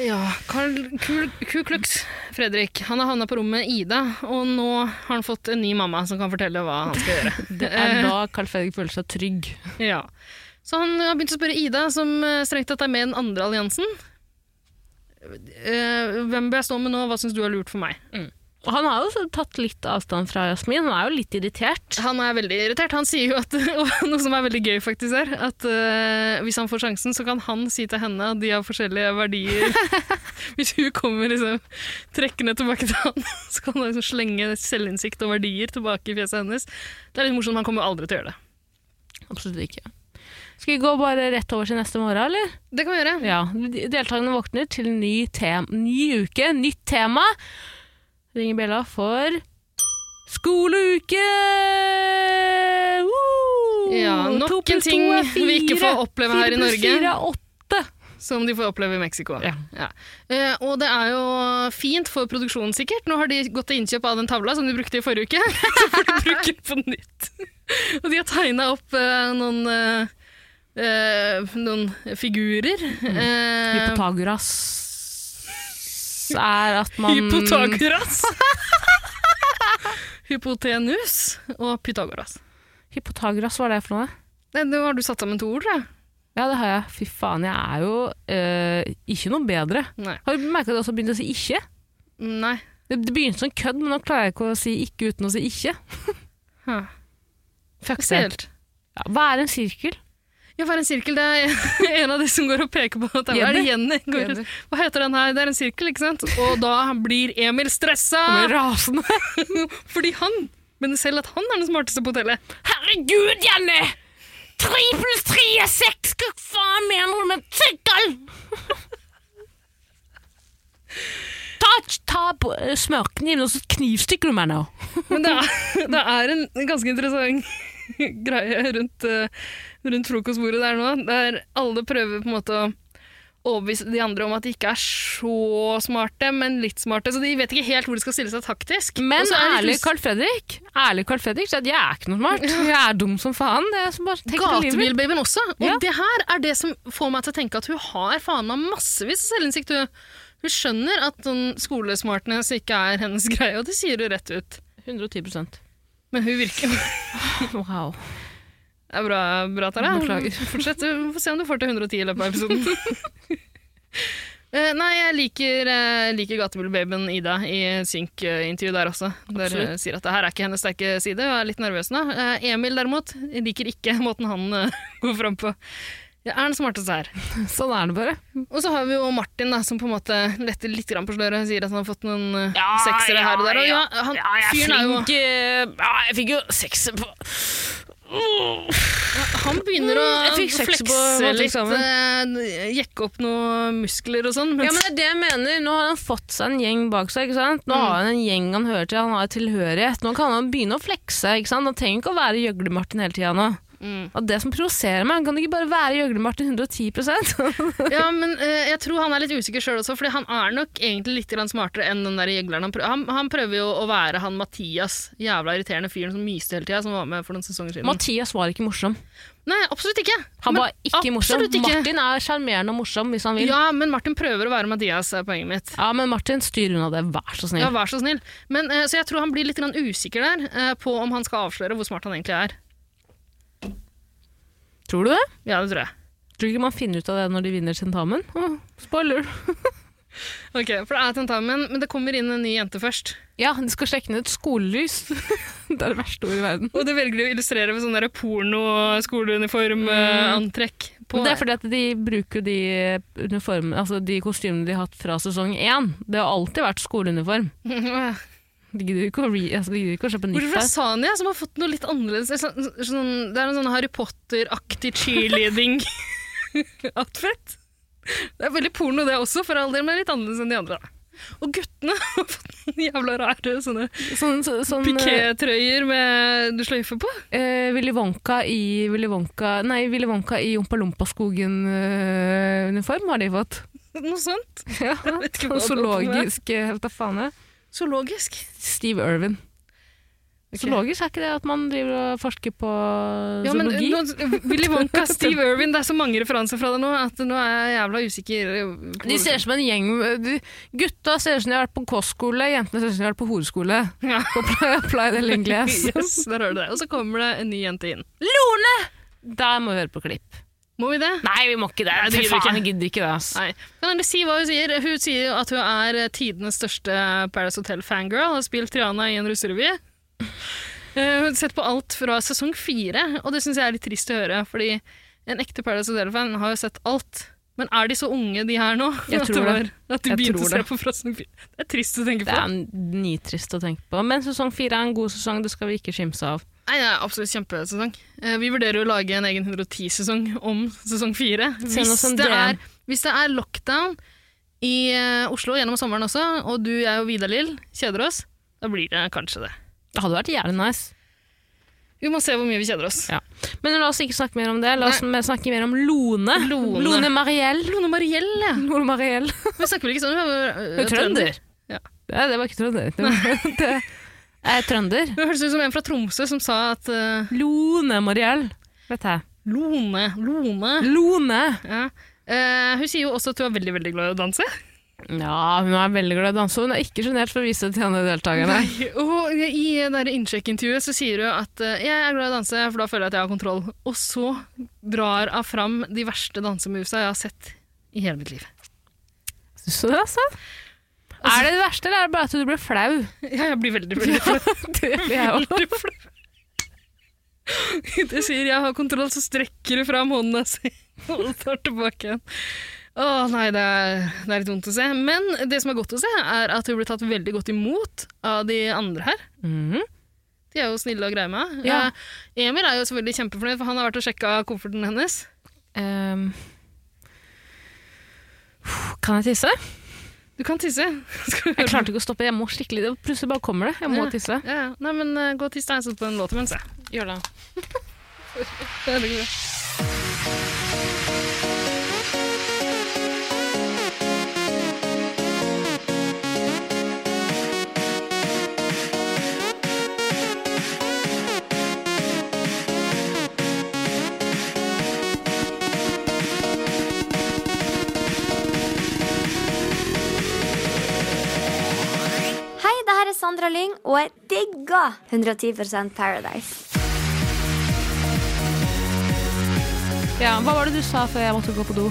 Ja, Karl Ku- Ku Klux Fredrik Han har havna på rommet med Ida, og nå har han fått en ny mamma som kan fortelle hva han skal gjøre.
Det er da Carl Fredrik føler seg trygg.
Ja. Så han har begynt å spørre Ida, som eh, strengt tatt er med i den andre alliansen. Eh, hvem bør jeg stå med nå, hva syns du er lurt for meg?
Og han har jo så tatt litt avstand fra Jasmin, han er jo litt irritert.
Han er veldig irritert. Han sier jo at, [LAUGHS] og noe som er veldig gøy faktisk er, at eh, hvis han får sjansen, så kan han si til henne at de har forskjellige [LAUGHS] verdier. hvis hun kommer liksom trekkende tilbake til han, [LAUGHS] så kan han liksom slenge selvinnsikt og verdier tilbake i fjeset hennes. Det er litt morsomt, men han kommer aldri til å gjøre det.
Absolutt ikke. Skal vi gå bare rett over til neste morgen, eller?
Det kan vi gjøre.
Ja. de- Deltakerne våkner til ny, tem ny uke, nytt tema. Ringer bjella for skoleuke! Woo!
Ja, nok
To pluss
en ting
to er
vi ikke
fire.
får oppleve her i Norge.
Fire pluss fire er åtte.
Som de får oppleve i Mexico.
Ja.
Eh, og det er jo fint for produksjonen, sikkert. Nå har de gått til innkjøp av den tavla som de brukte i forrige uke. [LAUGHS] Så får de bruke den på nytt. og de har tegna opp eh, noen eh, eh, noen figurer. Eh,
Hypotagoras er at man
Hypotagoras. [LAUGHS] Hypotenus og Pythagoras.
Hypotagoras, hva er det for noe?
Nei, Nå har du satt sammen to ord, da.
Ja, det har jeg. Fy faen, jeg er jo eh, ikke noe bedre.
Nei.
Har du merka at jeg også begynte å si ikke?
Nei.
Det, det begynte som kødd, men nå klarer jeg ikke å si ikke uten å si ikke.
Huh.
Fuck det.
Spesielt.
Ja, hva er en sirkel?
Ja, for en sirkel, det er [LAUGHS] en av de som går og peker på at det er
Jenny.
det Jenny. Går,
Jenny.
hva heter den her? Det er en sirkel, ikke sant? Og da blir Emil stressa!
Han blir rasende.
[LAUGHS] Fordi han mener selv at han er den smarteste på hotellet.
[LAUGHS] Herregud, Janne! Tre pluss tre er seks! Hva faen mener du med sirkel? Ta, ta på, eh, smørkniven, og så knivstikker du meg nå.
Men det er, [LAUGHS] det er en ganske interessant [LAUGHS] greie rundt, eh, rundt frokostbordet der nå, der alle prøver på en måte å overbevise de andre om at de ikke er så smarte, men litt smarte. Så de vet ikke helt hvor de skal stille seg taktisk.
Men
Og så er de
ærlig
litt
Carl Fredrik Ærlig Carl Fredrik sier at jeg er ikke noe smart. Jeg er dum som faen. Det er som bare tenker livet.
Gatebilbabyen også. Og
Ja.
det her er det som får meg til å tenke at hun har faen meg massevis av selvinnsikt. Hun, hun skjønner at sånn skolesmartness ikke er hennes greie, og det sier hun rett ut.
110
Men hun virker Det
Wow.
er bra, bra Tara.
Beklager.
Fortsett. Vi får se om du får til 110 i løpet av episoden.
[LAUGHS]
Eh, Nei, jeg liker, eh, liker Gatebilbabyen Ida i synk-intervju der også. Der hun
Absolutt.
sier at det her er ikke hennes sterke side, og er litt nervøs nå. Eh, Emil derimot liker ikke måten han eh, [LAUGHS] går fram på. Jeg er den smarteste her.
Sånn er det bare.
Og så har vi jo Martin, da, som på en måte letter litt grann på sløret. Sier at han har fått noen eh, seksere her og der. Og ja, han, fyren er jo
eh, Ja, jeg fikk jo sekser på
Han begynner å
Mm, jeg fikk sekser
flekse
på
litt.
eksamen.
eh, jekke opp noen muskler og sånn.
Ja,
mens-
men det er det jeg mener. Nå har han fått seg en gjeng bak seg. ikke sant? Nå har han en gjeng han hører til, han har tilhørighet. Nå kan han begynne å flekse. ikke sant? Han trenger ikke å være Gjøgle-Martin hele tida nå.
Mm.
Og det som provoserer meg, kan det ikke bare være Gjøgle-Martin 110
ja, men eh, jeg tror han er litt usikker sjøl også, Fordi han er nok egentlig litt grann smartere enn den der jegleren. Han prøver, han, han prøver jo å være han Mathias, jævla irriterende fyren som myste hele tida, som var med for noen sesonger siden.
[LAUGHS] Mathias var ikke morsom.
Nei, absolutt ikke.
Han
Men
var ikke morsom.
absolutt ikke.
Martin er sjarmerende og morsom hvis han vil. Ja.
Ja, men Martin prøver å være Mathias, er poenget mitt.
men Martin, styr unna det, vær så snill.
Ja, vær så snill. Men, eh, så jeg tror han blir litt grann usikker der eh, på om han skal avsløre hvor smart han egentlig er.
Tror du det?
Ja, det tror jeg.
Tror du ikke man finner ut av det når de vinner tentamen? Å, spoiler!
Ok, For det er tentamen, men det kommer inn en ny jente først.
Ja, de skal sjekke ned et skolelys. [LAUGHS] det er det verste ordet i verden.
Og det velger de å illustrere med sånn der eh, porno-skoleuniform-antrekk.
Mm. Men
[LAUGHS]
det er fordi at de bruker jo de uniformene, altså de kostymene de har hatt fra sesong én. Det har alltid vært skoleuniform. De gidder ikke å, re, altså, de gidder ikke å kjøpe nytt
Bortsett fra
der.
Sanja, som har fått noe litt annerledes. eller Sånn, sånn, det er en sånn Harry Potter-aktig [LAUGHS] cheerleading-outfit. Det er veldig porno, det også, for all del, men litt annerledes enn de andre. da. Og guttene [LAUGHS] har fått noen jævla rare sånne
Sånn, så, sånn eh,
pikétrøyer med du sløyfe på.
eh, Willy Wonka i Willy Wonka Nei, Willy Wonka i Jompa Lompa-skogen-uniform har de
[LAUGHS]
fått.
Noe sånt.
Ja,
vet ikke hva
sånn
det er for meg.
zoologisk eh, Hva faen er det?
Så logisk.
Steve Irwin.
Ok.
Zoologisk er ikke det at man driver og forsker på
Ja, men, eh,
zoologi?
nå, Willy [LAUGHS] Wonka, Steve Irwin, det er så mange referanser fra deg nå at nå er jeg jævla usikker.
de ser ut som en gjeng de, Gutta ser ut som de har vært på kostskole, jentene ser ut som de har vært på horeskole.
Ja.
På Apply, apply the
[LAUGHS]
Lingles. [LAUGHS]
Yes, der har du det. Og så kommer det en ny jente inn.
Lorne! Der må vi høre på klipp.
Må vi det?
Nei, vi må ikke det. Fy
det gidder vi
faen,
ikke.
jeg gidder ikke det. ass.
Nei. Kan dere si hva hun sier? Hun sier jo at hun er tidenes største Paradise Hotel-fangirl. Har spilt Triana i en russerevy. Eh, Hun har sett på alt fra sesong fire, og det syns jeg er litt trist å høre. Fordi en ekte Paradise Hotel-fan har jo sett alt. Men er de så unge, de her nå?
Jeg
[LAUGHS] At
tror
var-
det.
At de
Jeg
begynte
tror
å se
det.
på fra sesong fire. Det er trist å tenke
Det
på.
er nitrist å tenke på. Men sesong fire er en god sesong, det skal vi ikke skimse av.
Nei, det er absolutt kjempesesong. Eh, Vi vurderer jo å lage en egen 110-sesong om sesong 4.
Send oss
Hvis
en
det
DM.
er, hvis det er lockdown i eh, Oslo gjennom sommeren også, og du, jeg og Vidar-Lill kjeder oss, da blir det kanskje det.
Det hadde vært jævlig nice.
Vi må se hvor mye vi kjeder oss.
Ja. Men la oss ikke snakke mer om det. La oss mer- snakke mer om Lone.
Lone.
Mariell.
Lone Mariell, ja.
Lone [LAUGHS] Mariell.
Vi snakker vel ikke sånn? Hun er,
Hun er trønder.
Ja.
Det, det var ikke trønder. Det, var, [LAUGHS] det er trønder.
Hun høres ut som en fra Tromsø som sa at eh,
Lone Mariell. Vet jeg.
Lone, Lone.
Lone.
Ja. Eh, hun sier jo også at hun er veldig, veldig glad i å danse.
Ja, hun er veldig glad i å danse. og Hun er ikke sjenert for å vise det til andre
[LAUGHS]
deltakerne.
Og I det der innsjekkintervjuet så sier du at eh, jeg er glad i å danse, for da føler jeg at jeg har kontroll. Og så drar hun fram de verste dansemusa jeg har sett i hele mitt liv.
Syns du det, altså? Er det det verste, eller er det bare at du blir flau?
[LAUGHS]
[LAUGHS]
Ja, jeg blir veldig, veldig flau. [LAUGHS]
Det blir jeg også.
Veldig flau. [LAUGHS] Det sier jeg har kontroll, så strekker du fram hånda si [LAUGHS] og tar tilbake igjen. Å nei, det er, det er litt vondt å se. Men det som er godt å se, er at hun blir tatt veldig godt imot av de andre her.
Mhm.
De er jo snille og greie med henne.
Ja.
Eh, Emil er jo selvfølgelig kjempefornøyd, for han har vært og sjekka kofferten hennes.
Ehm. Kan jeg tisse?
Du kan tisse. [LAUGHS] Skal vi
Jeg
høre?
klarte ikke å stoppe. Jeg må skikkelig det- Plutselig bare kommer det. Jeg må
Ja.
tisse.
Ja, ja. Nei, men eh, gå og tiss deg, så på en låt imens, jeg. [LAUGHS]
Gjør det.
Det er veldig bra.
Hei, det her er Sandra Lyng, og jeg digger 110 Paradise.
Ja, hva var det du sa før jeg måtte gå på do?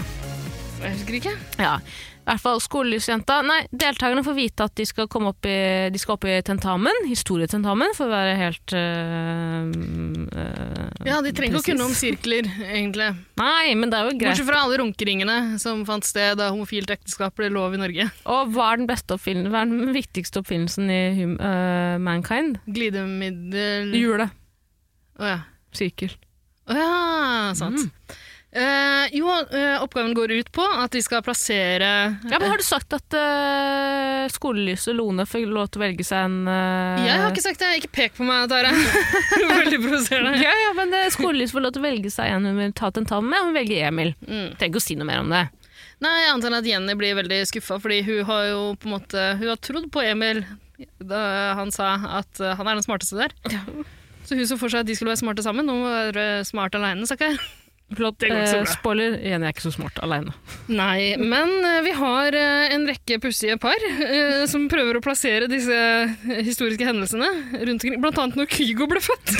Jeg husker ikke.
Ja, i hvert fall skolelysjenta. Nei, deltakerne får vite at de skal, komme opp, i, de skal opp i tentamen, historietentamen, for å være helt øh, øh,
Ja, de trenger ikke å
Presis.
kunne om sirkler, egentlig.
Nei, men det er jo greit.
Bortsett fra alle runkeringene som fant sted da homofilt ekteskap ble lov i Norge.
Og hva er den beste oppfinnelsen, hva er den viktigste oppfinnelsen i hum, øh, mankind?
Glidemiddel Å
Hjulet.
ja.
Sirkel.
Å ja, sant. Eh, jo, eh, oppgaven går ut på at de skal plassere
Ja, men har du sagt at øh, skolelyset Lone får lov til å velge seg en øh,
Jeg har ikke sagt det! Ikke pek på meg, [LAUGHS] Tare. Veldig provoserende.
ja, ja, men øh, skolelyset får lov til å velge seg en hun vil ta tentamen med, og hun velger Emil.
Mm.
Trenger ikke å si noe mer om det.
Nei, jeg antar at Jenny blir veldig skuffa, fordi hun har jo på en måte Hun har trodd på Emil da han sa at eh, han er den smarteste der. Så hun så for seg at de skulle være smarte sammen. Nå må hun være smart aleine, stakkar.
Flott.
går ikke så
Eh,
bra.
spoiler, igjen, jeg er ikke så smart alene.
Nei, men eh, vi har eh, en rekke pussige par eh, som prøver å plassere disse historiske hendelsene rundt omkring. Blant annet når Kygo ble født.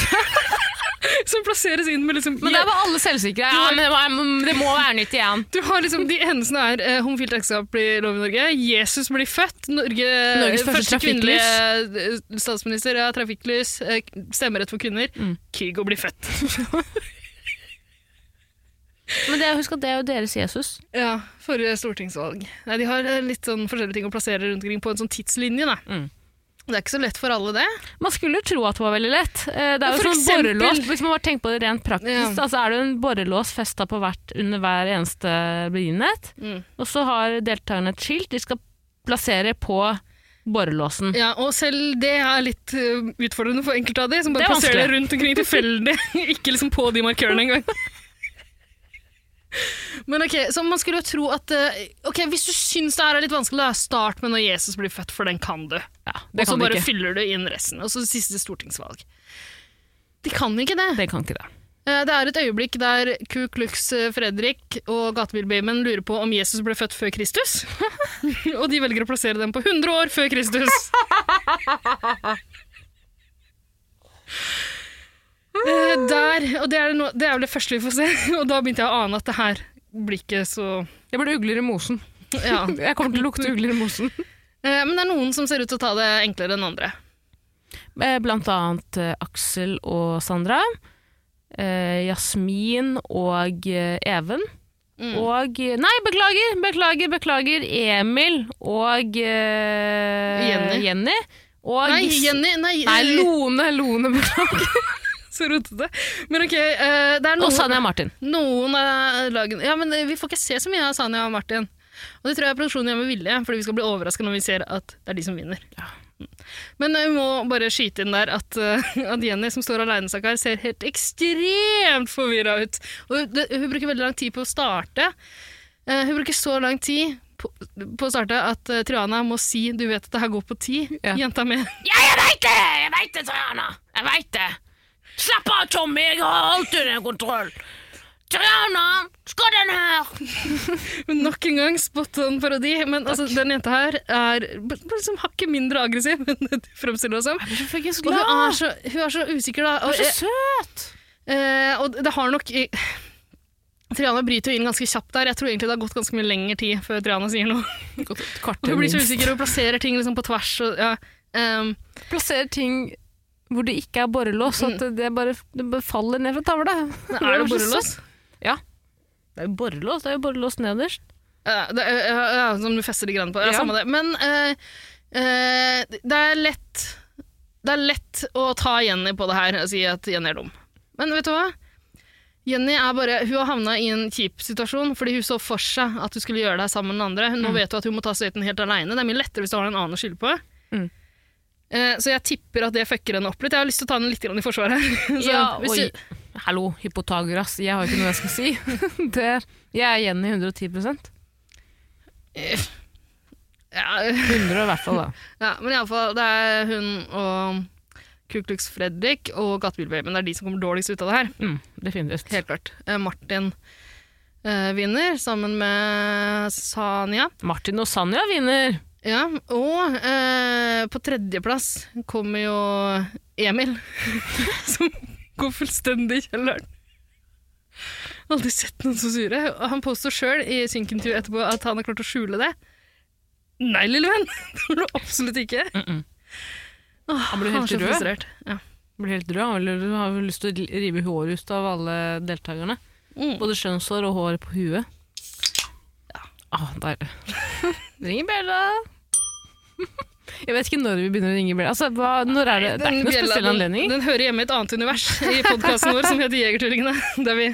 [LAUGHS] som plasseres inn med liksom
Men der var alle selvsikre. Ja, men det, må- det må være nytt igjen.
Du har liksom, De endelsene er eh, homofilt ekteskap blir lov i Norge, Jesus blir født, Norge,
Norges første trafikklys.
kvinnelige eh, statsminister, ja, trafikklys, eh, stemmerett for kvinner,
Mm.
Kygo blir født.
[LAUGHS] Men det, husk at det er jo deres Jesus.
ja, Forrige stortingsvalg. Nei, De har eh, litt sånn forskjellige ting å plassere rundt omkring på en sånn tidslinje. da.
Mm.
Det er ikke så lett for alle, det.
Man skulle tro at det var veldig lett. Eh, Det er jo
For
sånn
eksempel-
borrelås. Hvis man bare tenker på det rent praktisk,
Ja.
da, så er det jo en borrelås festa på hvert under hver eneste begivenhet.
Mm.
Og så har deltakerne et skilt de skal plassere på borrelåsen.
Ja, Og selv det er litt eh, utfordrende for enkelte av de, som
Det
bare
er
plasserer det
vanskelig.
rundt omkring tilfeldig. [LAUGHS] ikke liksom på de markørene
[LAUGHS]
engang. Men ok, så man skulle jo tro at eh, Ok, Hvis du syns det her er litt vanskelig, da start med når Jesus blir født, for den kan du.
Ja,
Og
det
så
kan de
bare
ikke.
fyller du inn resten. Og så siste stortingsvalg. De kan ikke det.
Det kan ikke det.
Eh, Det er et øyeblikk der Ku Klux eh, Fredrik og Gatebilbabyen lurer på om Jesus ble født før Kristus. [LAUGHS] og de velger å plassere dem på 100 år før Kristus. Eh, der, og det er, noe, det er vel det første vi får se. [LAUGHS] Og da begynte jeg å ane at det her blir ikke så
Jeg ble ugler i mosen.
ja.
Jeg kommer til å lukte ugler i mosen.
Eh, Men det er noen som ser ut til å ta det enklere enn andre.
Eh, Blant annet eh, Aksel og Sandra. Eh, Jasmin og eh, Even.
Mm.
Og eh, Nei, beklager! Beklager, beklager. Emil og eh,
Jenny.
Og
Nei, Jenny Nei,
Nei,
eh,
Lone. Lone, beklager.
[LAUGHS] så rotete. Men ok, eh, det er noen
Og Sanja Martin.
Noen av lagene Ja, men vi får ikke se så mye av Sanja og Martin. Og det tror jeg produksjonen gjør med vilje, fordi vi skal bli overraska når vi ser at det er de som vinner. Men eh, vi må bare skyte inn der at, eh, at Jenny, som står aleine, stakkar, ser helt ekstremt forvirra ut. Og det, hun bruker veldig lang tid på å starte. Eh, hun bruker så lang tid på, på å starte at eh, Triana må si 'du vet at det her går på ti',
Ja.
jenta mi.
Ja, jeg veit det! Jeg veit det, Triana! Jeg veit det! Slapp av, Tommy! Jeg har alt under kontroll! Triana, skal den her!
Men Nok en gang spot on parodi. Men altså, den jenta her er b- b- liksom hakket mindre aggressiv [LAUGHS] enn det du fremstiller oss som. Og hun er så, hun er så usikker, da. Og,
Så søt!
eh, og det har nok i- Triana bryter jo inn ganske kjapt der. Jeg tror egentlig det har gått ganske mye lengre tid før Triana sier noe. [LAUGHS] Og
Kvarter
hun blir så usikker og plasserer ting liksom på tvers. Og, ja. Ehm,
Plasserer ting hvor det ikke er borrelås, så at det bare, det bare faller ned fra tavla. [LAUGHS]
men er det borrelås?
Det er jo borrelås, det er jo borrelås nederst.
Ja, det er- ja, ja, som du fester de greiene på. Ja,
Ja.
Samme det. Men eh, eh, det er lett Det er lett å ta Jenny på det her og si at Jenny er dum. Men vet du hva? Jenny er bare, hun har havna i en kjip situasjon fordi hun så for seg at hun skulle gjøre det her sammen med den andre. Nå vet hun at hun må ta støyten helt aleine. Det er mye lettere hvis du har en annen å skylde på.
Mm.
Eh, så jeg tipper at det fucker henne opp litt. Jeg har lyst til å ta henne litt grann i forsvar her. [LAUGHS] Så, hvis
oi.
du-
Hallo, Hypotagoras, jeg har ikke noe jeg skal si. [LAUGHS] det er, jeg er Jenny 110 100
ja,
i hvert fall, da.
Ja, men iallfall, det er hun og Ku Klux Fredrik og Gatebilbabyen. Det er de som kommer dårligst ut av det her.
Mm, definitivt.
Helt klart. Eh, Martin eh, vinner sammen med Sanja.
Martin og Sanja vinner.
Ja, og eh, på tredjeplass kommer jo Emil, [LAUGHS] som går fullstendig i kjelleren. Aldri sett noen så sure. Og Han påstår sjøl i synkintervjuet etterpå at han har klart å skjule det. Nei, lille venn! [LAUGHS] Det har du absolutt ikke. Åh,
Han blir helt
er så
rød.
frustrert. Ja.
Blir helt rød. Han vil- har vel lyst til å rive håret ut av alle deltakerne.
Mm.
Både skjønnshår og hår på huet. Ah, der. [LAUGHS] Ringer bjella! [LAUGHS] Jeg vet ikke når vi begynner å ringe bjella. Altså, hva, når er det? Det er ikke noen
bjella,
spesiell
den,
anledning.
den hører hjemme i et annet univers i podkasten vår som heter Jegertvillingene, der vi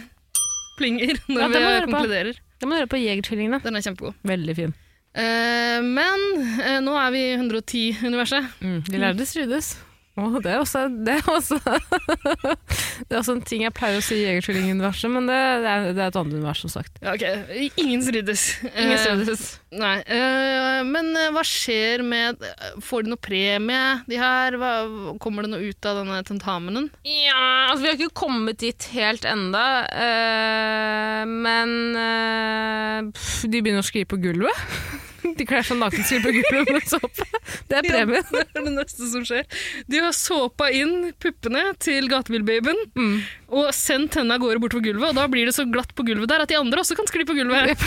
plinger når
Ja, den må
vi
jeg høre på.
konkluderer.
Det må du høre på Jegertvillingene.
Den er kjempegod.
Veldig fin.
Eh, men eh, nå er vi i 110-universet.
Mm, de lærde strides. Å, det er også, det er også, [LAUGHS] det er også en ting jeg pleier å si i Jegertvillingen-universet, men det, det, er, det er et annet univers, som sagt.
Ja, ok. Ingen strides.
Ingen
Eh,
strides.
nei. Eh, men eh, hva skjer med eh, Får de noe premie, de her? Hva, kommer det noe ut av denne tentamenen?
Ja, altså vi har ikke kommet dit helt enda, eh, men eh, pff, de begynner å skrive på gulvet. [LAUGHS] De klasja nakenskull på gulvet med såpe. Det er premien.
Ja, [LAUGHS] det er det neste som skjer. De har såpa inn puppene til gatebilbabyen
Mm.
og sendt henne av gårde bortover gulvet, og da blir det så glatt på gulvet der at de andre også kan skli på gulvet. [LAUGHS]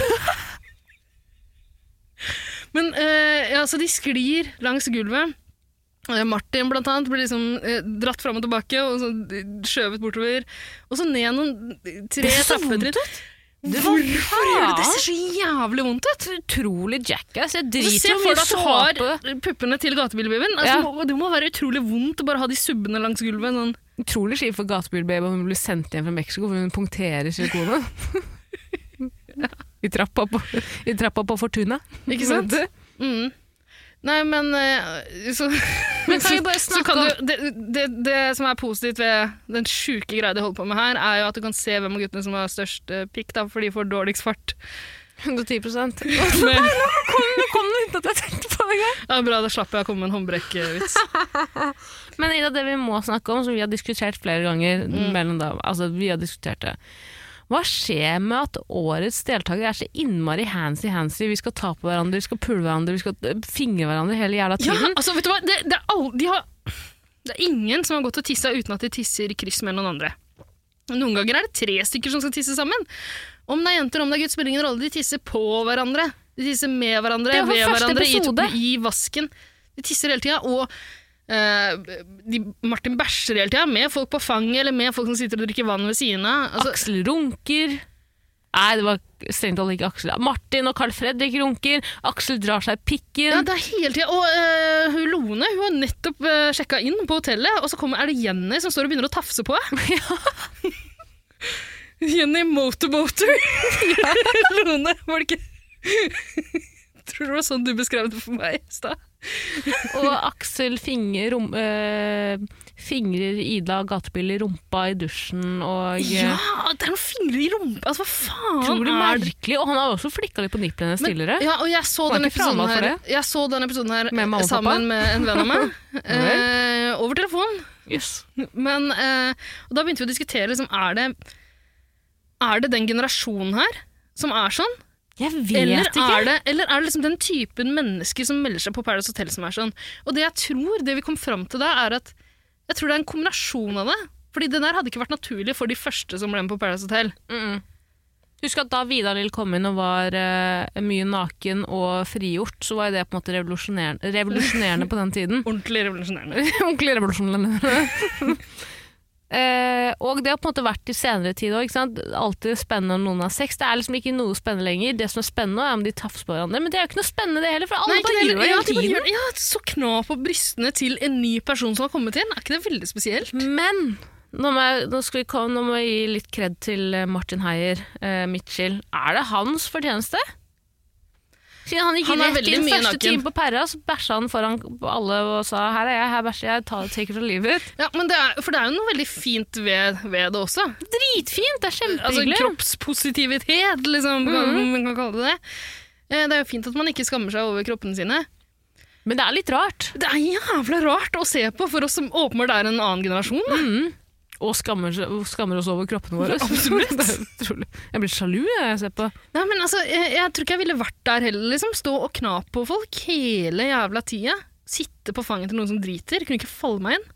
Men eh, ja, så de sklir langs gulvet. Eh, Martin blant annet blir liksom eh, dratt fram og tilbake og så eh, skjøvet bortover. Og så ned noen tre
Det så vondt
trappetrinn.
Det var-
Hvorfor gjør du det? Det
Ja.
ser så jævlig vondt ut!
Utrolig jackass. Jeg
Så
driter
Se
i hvor
for
mye
deg at du har
såpe
puppene til gatebilbabyen. Altså,
Ja.
det må- Det må være utrolig vondt å bare ha de subbene langs gulvet. Sånn.
Utrolig skiv for gatebilbaby om hun blir sendt hjem fra Mexico hvor hun punkterer [LAUGHS] silikonet. I trappa på, i trappa på Fortuna.
Ikke sant? Mm. Nei, men eh, så,
[LAUGHS] Men kan vi bare
[LAUGHS] så
snakke
kan du, det, det, det som er positivt ved den sjuke greia de holder på med her, er jo at du kan se hvem av guttene som har størst eh, pikk, da, for de får dårligst fart.
110
Men,
Nå kom det uten at jeg tenkte på det engang.
ja, bra, da slapp jeg å komme med en håndbrekkvits.
Men Ida, det vi må snakke om, som vi har diskutert flere ganger
Mm.
mellom da, altså vi har diskutert det. Hva skjer med at årets deltakere er så innmari handsy-handsy? Vi skal ta på hverandre, vi skal pulle hverandre, vi skal øh, fingre hverandre hele jævla
Ja,
tiden.
altså, vet du hva? Det, det, er all, de har, det er ingen som har gått og tissa uten at de tisser i kryss med noen andre. Noen ganger er det tre stykker som skal tisse sammen. Om det er jenter om det er gutt, spiller ingen rolle. De tisser på hverandre. De tisser med
Det
hverandre,
er jo
ved
første
hverandre,
episode.
i, i vasken. De tisser hele tida, og eh, de, Martin bæsjer hele tida, med folk på fanget eller med folk som sitter og drikker vann ved siden av. Altså,
Aksel runker. Nei, det var strengt talt ikke Aksel. Martin og Carl Fredrik runker. Aksel drar seg i pikken.
Ja, det er hele tiden. Og eh, hun Lone hun har nettopp uh, sjekka inn på hotellet, og så kommer, er det Jenny som står og begynner å tafse på henne.
[LAUGHS]
[LAUGHS]
[LAUGHS]
Jenny Motorboater. [LAUGHS] Lone, var det ikke [LAUGHS] Tror du det var sånn du beskrev det for meg i stad?
Og Aksel finger, rom, eh, fingrer Ida gatebil i rumpa i dusjen. Og øh,
Ja, det er noen fingre i rumpa! Altså, hva faen
utrolig
er det?
merkelig. Og han har også flikka litt på nipplene hennes tidligere.
Ja, og jeg så,
Var
den
ikke
episoden
frama for
her, jeg så den episoden her
Med mamma og pappa?
sammen med en venn av
[LAUGHS]
meg. eh, over telefon.
Yes.
Men eh, og da begynte vi å diskutere liksom, er, det, er det den generasjonen her som er sånn?
Jeg vet
Eller
ikke.
er det, eller er det liksom den typen mennesker som melder seg på Paradise Hotel som er sånn? Og det jeg tror det vi kom fram til da, er at jeg tror det er en kombinasjon av det. Fordi det der hadde ikke vært naturlig for de første som ble med på Paradise Hotel.
Mm. Husk at da Vidar Lill kom inn og var eh, mye naken og frigjort, så var jo det på en måte revolusjonerende, revolusjonerende på den
[LAUGHS]
tiden.
Ordentlig revolusjonerende.
Ordentlig revolusjonerende. [LAUGHS] Eh, og det har på en måte vært i senere tid òg. Alltid spennende om noen har sex. Det er liksom ikke noe spennende lenger. Det som er spennende, er om de tafser på hverandre. Men det er jo ikke noe spennende det heller, for alle
Nei, ikke
bare
det
gjør det
heller. ja,
hele
de bare
tiden.
gjør det. Ja, så kna på brystene til en ny person som har kommet inn. Er ikke det veldig spesielt?
Men nå må, jeg, nå, skal vi komme, nå må jeg gi litt kred til eh, Martin Heier, eh, Mitchell. Er det hans fortjeneste? Siden han gikk
Han er
rett
veldig
inn
mye
første
naken.
time på perra, så bæsja han foran alle og sa 'her er jeg, her bæsjer jeg, ta take it or leave it'.
Ja, men det er, For det er jo noe veldig fint ved, ved det også.
Dritfint! Det er
Altså
kjempehyggelig.
kroppspositivitet, liksom,
Mm.
kan- man kan kalle det det. Eh, Det er jo fint at man ikke skammer seg over kroppene sine.
Men det er litt rart.
Det er jævla rart å se på for oss som åpenbart er en annen generasjon.
Mm,
da.
Og skammer, skammer oss over kroppene [LAUGHS] våre.
Absolutt.
Det er utrolig. Jeg blir sjalu jeg, jeg ser på.
[LAUGHS] Nei, men altså, jeg, jeg tror ikke jeg ville vært der heller. liksom. Stå og kna på folk hele jævla tida. Sitte på fanget til noen som driter. Kunne ikke falle meg inn.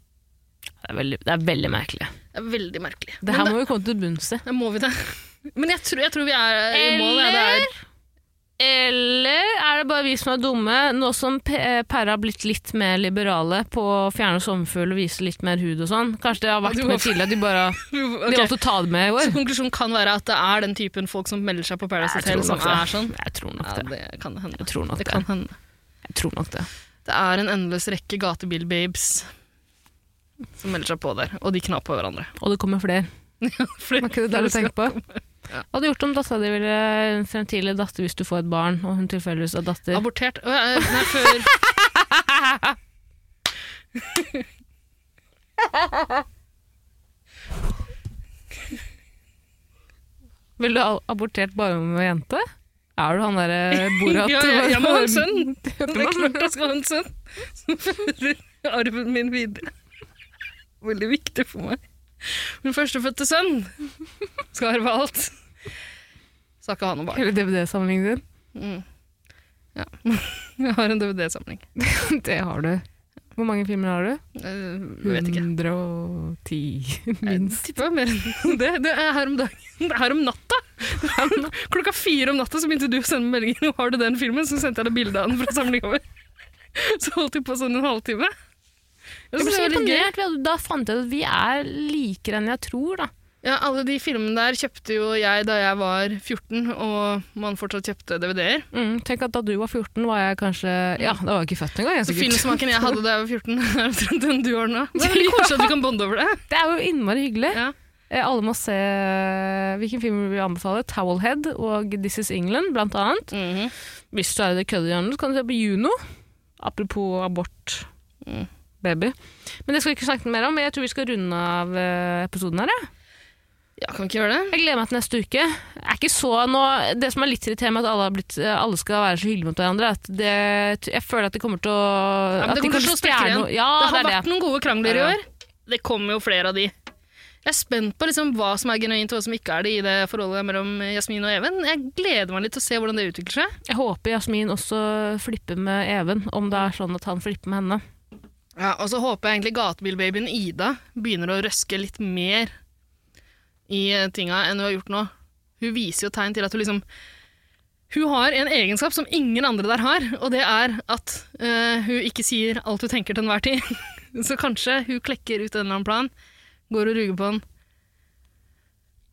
Det er veldig, det er veldig merkelig.
Det er veldig merkelig.
Det her må vi komme til bunns i.
da må vi det. [LAUGHS] Men jeg tror, jeg tror vi er i mål. Ja, det er.
Eller er det bare vi som er dumme, nå som P- eh, Perra har blitt litt mer liberale på å fjerne sommerfugl og vise litt mer hud og sånn? Kanskje det har vært
Ja, du
med
må-
tidligere, de bare de
[LAUGHS] Ok,
valgte å ta det med i
Så
år?
konklusjonen kan være at det er den typen folk som melder seg på Paradise
Jeg
Hotel
tror
som
nok
er
det.
sånn.
Jeg tror nok
Ja,
det.
det kan hende.
Jeg tror nok
Det
det.
kan hende.
Jeg tror nok det.
Det er en endeløs rekke gatebilbabes som melder seg på der, og de knapp
[LAUGHS]
på hverandre.
Og det kommer
[LAUGHS]
flere.
Fordi-
Var ikke det det du tenkte på? Hva hadde du gjort om dattera di ville fremtidig datter hvis du får et barn, og hun tilfeldigvis er datter?
Abortert Å, ja, eh, Nei, før
Ville du ha abortert bare med en jente? Er du han
[LAUGHS]
derre Borat?
ja, jeg, jeg må
[LAUGHS]
ha en sønn! Det er klart jeg skal ha en sønn! Som fører arven min videre. Veldig viktig for meg. Min førstefødte sønn skal arve alt. Skal ikke ha noe barn.
Hele DVD-samlingen din?
Ja. Jeg har en DVD-samling.
[LAUGHS] Det har du. Hvor mange filmer har du?
Eh, vet ikke.
[LAUGHS] 110,
Jeg
minst.
tipper mer enn det. Det er her om dagen. Det er her om natta! Det er om- Klokka fire om natta så begynte du å sende meg meldinger. Har du den filmen? Så sendte jeg deg bilde av den fra samlinga vår. Så holdt vi på sånn en halvtime. Jeg
Jeg
synes
ble så
det var litt gøy.
imponert. for Da fant jeg ut at vi er likere enn jeg tror, da.
Ja, alle de filmene der kjøpte jo jeg da jeg var 14, og man fortsatt kjøpte DVD-er.
Mm, tenk at da du var 14, var jeg kanskje Ja, da var jeg ikke født engang. jeg,
Så
sikkert.
filmsmaken jeg hadde da jeg var 14, [LAUGHS] er omtrent den du har
[LAUGHS]
nå. Det er veldig koselig at vi kan bonde over det.
Det er jo innmari hyggelig.
Ja.
Eh, Alle må se eh, hvilken film vi anbefaler. Towelhead og This Is England, blant annet. Hvis du er i det køddehjørnet, så kan du se på Juno. Apropos abort. Mm. Baby. Men det skal vi ikke snakke mer om. Jeg tror vi skal runde av eh, episoden her. jeg.
Ja, kan vi ikke gjøre det?
Jeg gleder meg til neste uke. Jeg Er ikke så nå, det som er litt irriterende med at alle, har blitt, eh, alle skal være så hyggelige mot hverandre, at det, jeg føler at det kommer til å
Ja, men
at
det
de
kommer til å
kanskje
slå sprekker
stjeler
igjen.
noe- Ja,
det har
det er
vært
det.
noen gode krangler i
Ja, ja.
år. Det kommer jo flere av de. Jeg er spent på liksom hva som er genuint og hva som ikke er det i det forholdet mellom Jasmin og Even. Jeg gleder meg litt til å se hvordan det utvikler seg.
Jeg håper Jasmin også flipper med Even, om det er sånn at han flipper med henne.
Ja, og så håper jeg egentlig gatebilbabyen Ida begynner å røske litt mer i eh, tinga enn hun har gjort nå. Hun viser jo tegn til at hun liksom Hun har en egenskap som ingen andre der har, og det er at eh, hun ikke sier alt hun tenker til enhver tid. [LAUGHS] så kanskje hun klekker ut en eller annen plan, går og ruger på den.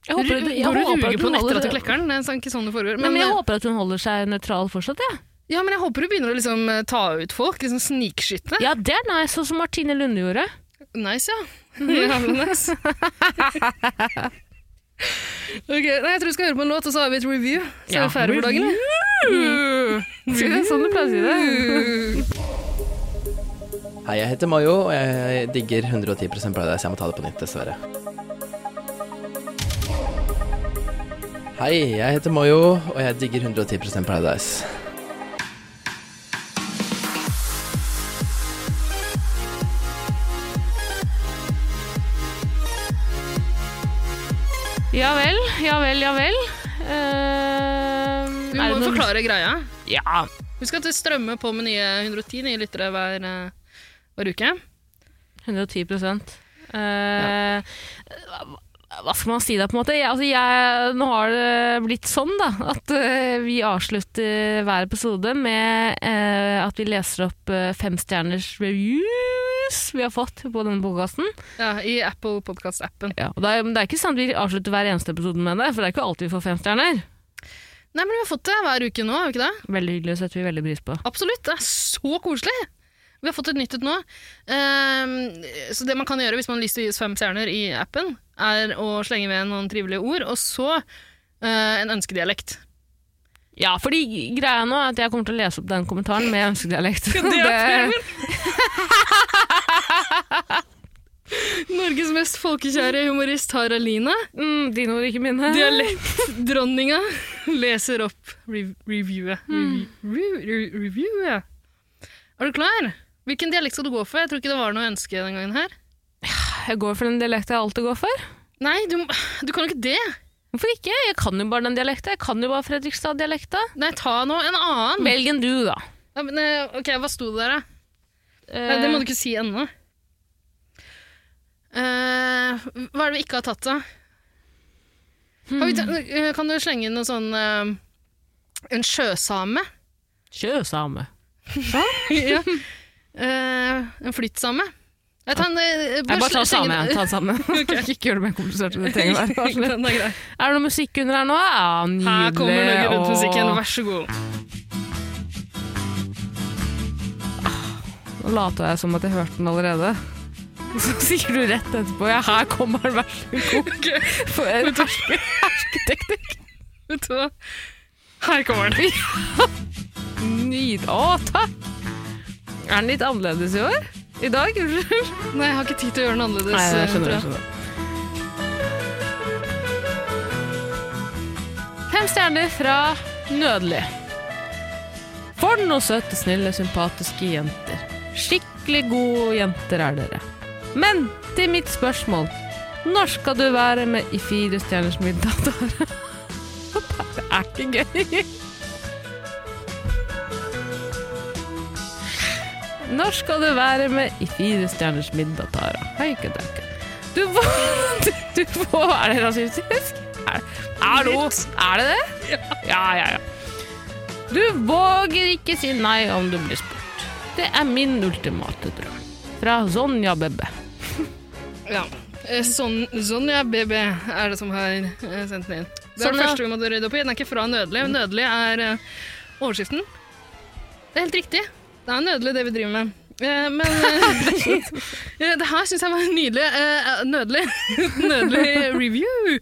Jeg
Ru-
håper,
Går
jeg
og
håper
ruger
at hun
på den etter
holder,
at du klekker den? Det er ikke sånn det foregår.
Nei,
Men,
men jeg håper at hun holder seg nøytral fortsatt. Ja.
ja, men jeg håper hun begynner å liksom eh, ta ut folk. Liksom snikskytte.
ja, det er nice, sånn som Martine Lunde gjorde.
Nice, ja.
[LAUGHS]
[LAUGHS] Jævla nice. Ok, nei, Jeg tror vi skal høre på en låt, og så har vi et review. Så er
Ja,
vi ferdig for dagen.
Sier det sånn du pleier å si det?
Hei, jeg heter Mayo, og jeg digger 110 Paradise. Jeg må ta det på nytt, dessverre. Hei, jeg heter Mayo, og jeg digger 110 Paradise.
Ja vel, ja vel, ja vel. Ehm,
Vi
er
må
det
jo
noen-
forklare greia.
Ja.
Husk at det strømmer på med nye 110 nye lyttere hver, eh, hver uke.
110 Eh, Hva skal man si da, på en måte? Jeg, altså, jeg, nå har det blitt sånn da, at eh, vi avslutter hver episode med eh, at vi leser opp eh, femstjerners reviews vi har fått på denne podkasten.
Ja, I Apple Podcast-appen.
Ja, og det, er, men det er ikke sant vi avslutter hver eneste episode med det, for det er ikke alltid vi får fem stjerner.
Nei, men Vi har fått det hver uke nå. har vi ikke det?
Veldig hyggelig, og setter vi veldig pris på.
Absolutt. Det er så koselig! Vi har fått et nytt et nå. Ehm, så det man kan gjøre hvis man har lyst til å gi oss fem stjerner i appen, er å slenge ved noen trivelige ord, og så eh, en ønskedialekt.
Ja, fordi greia nå er at jeg kommer til å lese opp den kommentaren med ønskedialekt. [LAUGHS]
Norges mest folkekjære humorist har Alina.
mm, dine ord, ikke mine.
Dialektdronninga leser opp rev reviewet. Revi- rev- rev- Reviewet. Er du klar? Hvilken dialekt skal du gå for? Jeg tror ikke det var noe ønske den gangen her.
Jeg går for den dialekten jeg alltid går for.
Nei, du, må- du kan jo ikke det.
Hvorfor ikke? Jeg kan jo bare den dialekten. Jeg kan jo bare Fredrikstad-dialekten.
Nei, ta nå en annen.
Velg en du, da.
Ja, men, eh, ok, hva sto det der, da? Nei, det må du ikke si ennå. Eh, hva er det vi ikke har tatt, da? Har vi ta eh, kan du slenge inn noe sånn eh, En sjøsame?
Sjøsame.
ja. Eh, en flyttsame? Jeg tar en eh,
Jeg bare
sle-
tar
slenge-
samme. jeg. Ta
[LAUGHS]
samme. [LAUGHS] ikke gjør det mer komplisert enn det trenger å være.
Den er grei.
Er det noe musikk under her nå? Ja, nydelig.
Her kommer Norge Rundt-musikken,
og-
vær så god.
Nå later jeg som at jeg hørte den allerede. [LAUGHS] Så sier du rett etterpå ja, her kommer den, vær
[LAUGHS]
så god. For en herske, hersketeknikk.
Vet du hva? Her kommer den.
Nyd... Å, takk! Er den litt annerledes i år? I dag? [LAUGHS] Unnskyld.
[LAUGHS] Nei, jeg har ikke tid til å gjøre den annerledes.
Nei, jeg
eh,
skjønner,
tror
jeg skjønner. Fem stjerner fra Nødelig. For noen søte, snille, sympatiske jenter. Skikkelig gode jenter er dere. Men til mitt spørsmål Når skal du være med i Fire stjerners middag, [LAUGHS] Tara? Det er ikke gøy. Når skal du være med i Fire stjerners middag, Tara? Haikadaka. Du var du, [LAUGHS] du var Er det rasistisk? Er, er, det- er det det? Ja, ja, ja. Du våger ikke si nei om du blir spurt. Det er min ultimate drøm. Fra Sonja Bebbe.
Ja. Eh, Sånn, Sonja BB er det som har eh, sendt den inn. Det er
Sonja.
det første vi måtte rydde opp i. Den er ikke fra Nødelig. Nødelig er eh, overskriften. Det er helt riktig. Det er Nødelig, det vi driver med. Eh, Men eh, [LAUGHS] det her syns jeg var nydelig. Eh, Nødelig. [LAUGHS] Nødelig review.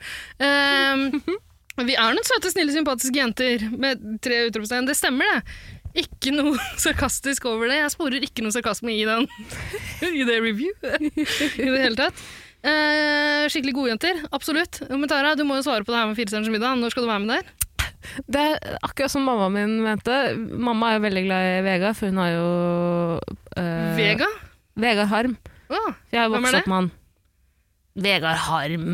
Eh, Vi er noen søte, snille, sympatiske jenter med tre utropstegn. Det stemmer, det. Ikke noe [LAUGHS] sarkastisk over det. Jeg sporer ikke noe sarkasme i den [LAUGHS] i det reviewet [LAUGHS] i det hele tatt. Eh, skikkelig gode jenter, absolutt. Men Tara, du må jo svare på det her med Firestjerners middag. Når skal du være med der?
Det er akkurat som mamma min mente. Mamma er jo veldig glad i Vegard, for hun har jo eh,
Vega?
Vegard Harm.
Å,
Jeg har
Hvem er
vokst
det?
opp med han. Vegard Harm.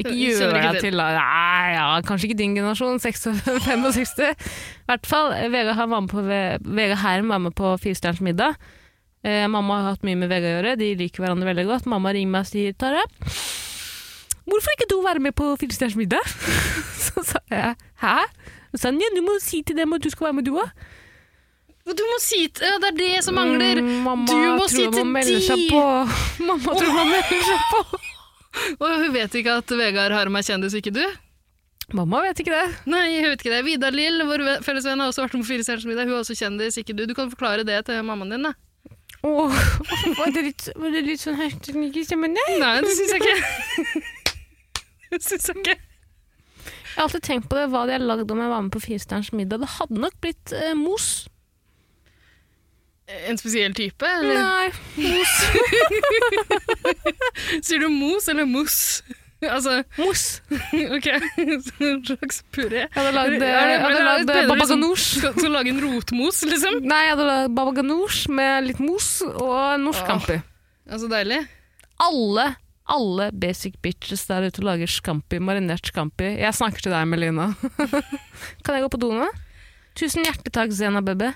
Ikke
Jeg
gjør
kjenner ikke
deg
til.
til da. Nei, ja, kanskje ikke din generasjon, [LAUGHS] 65. 65. I hvert fall, eh, Vegard Harm var med på, Ve- Vegard Harm var med på Firestjerners middag. Eh, mamma har hatt mye med Vegard å gjøre, de liker hverandre veldig godt. Mamma ringer meg og sier, Tara, hvorfor ikke du være med på Firestjerners middag? [LAUGHS] Så sa jeg, hæ? Sanja, du må si til dem at du skal være med du også.
Du må si til Ja, det er det som mangler!
Mm, Mamma
Du må
tror
si
jeg
til
må melde seg
de.
på. [LAUGHS] Mamma tror hun må melde seg på.
Og hun vet ikke at Vegard Harm er kjendis, ikke du?
Mamma vet ikke det.
Nei, hun vet ikke det. Vidar Lill, vår ve- felles venn, har også vært med på Firestjerners middag. Hun er også kjendis, ikke du. Du kan forklare det til mammaen din, da.
Åh, [LAUGHS] var det litt, var det litt sånn hersketeknikk i stemmen? Nei.
Nei, det syns jeg ikke. [LAUGHS] Det syns jeg ikke.
Jeg har alltid tenkt på det, hva de hadde lagd om jeg var med på Firestjerners middag. Det hadde nok blitt eh, mos.
En spesiell type, eller?
Nei.
Sier du mos eller mos? [LAUGHS] Altså,
[LAUGHS] Mos.
ok, [LAUGHS] en slags puré.
Jeg hadde lagd,
Er det-
eh,
er det-
jeg hadde
er det
lagd eh,
bedre
baba
liksom-
ganoush.
[LAUGHS] Skal, skal lage en rotmos, liksom?
Nei, jeg hadde lagd baba ganoush med litt mos og norskkampi.
Altså, deilig.
Alle, alle basic bitches der ute lager skampi, marinert skampi. Jeg snakker til deg, [LAUGHS] Melina. kan jeg gå på do nå? Tusen hjertelig takk, Zena Bebe.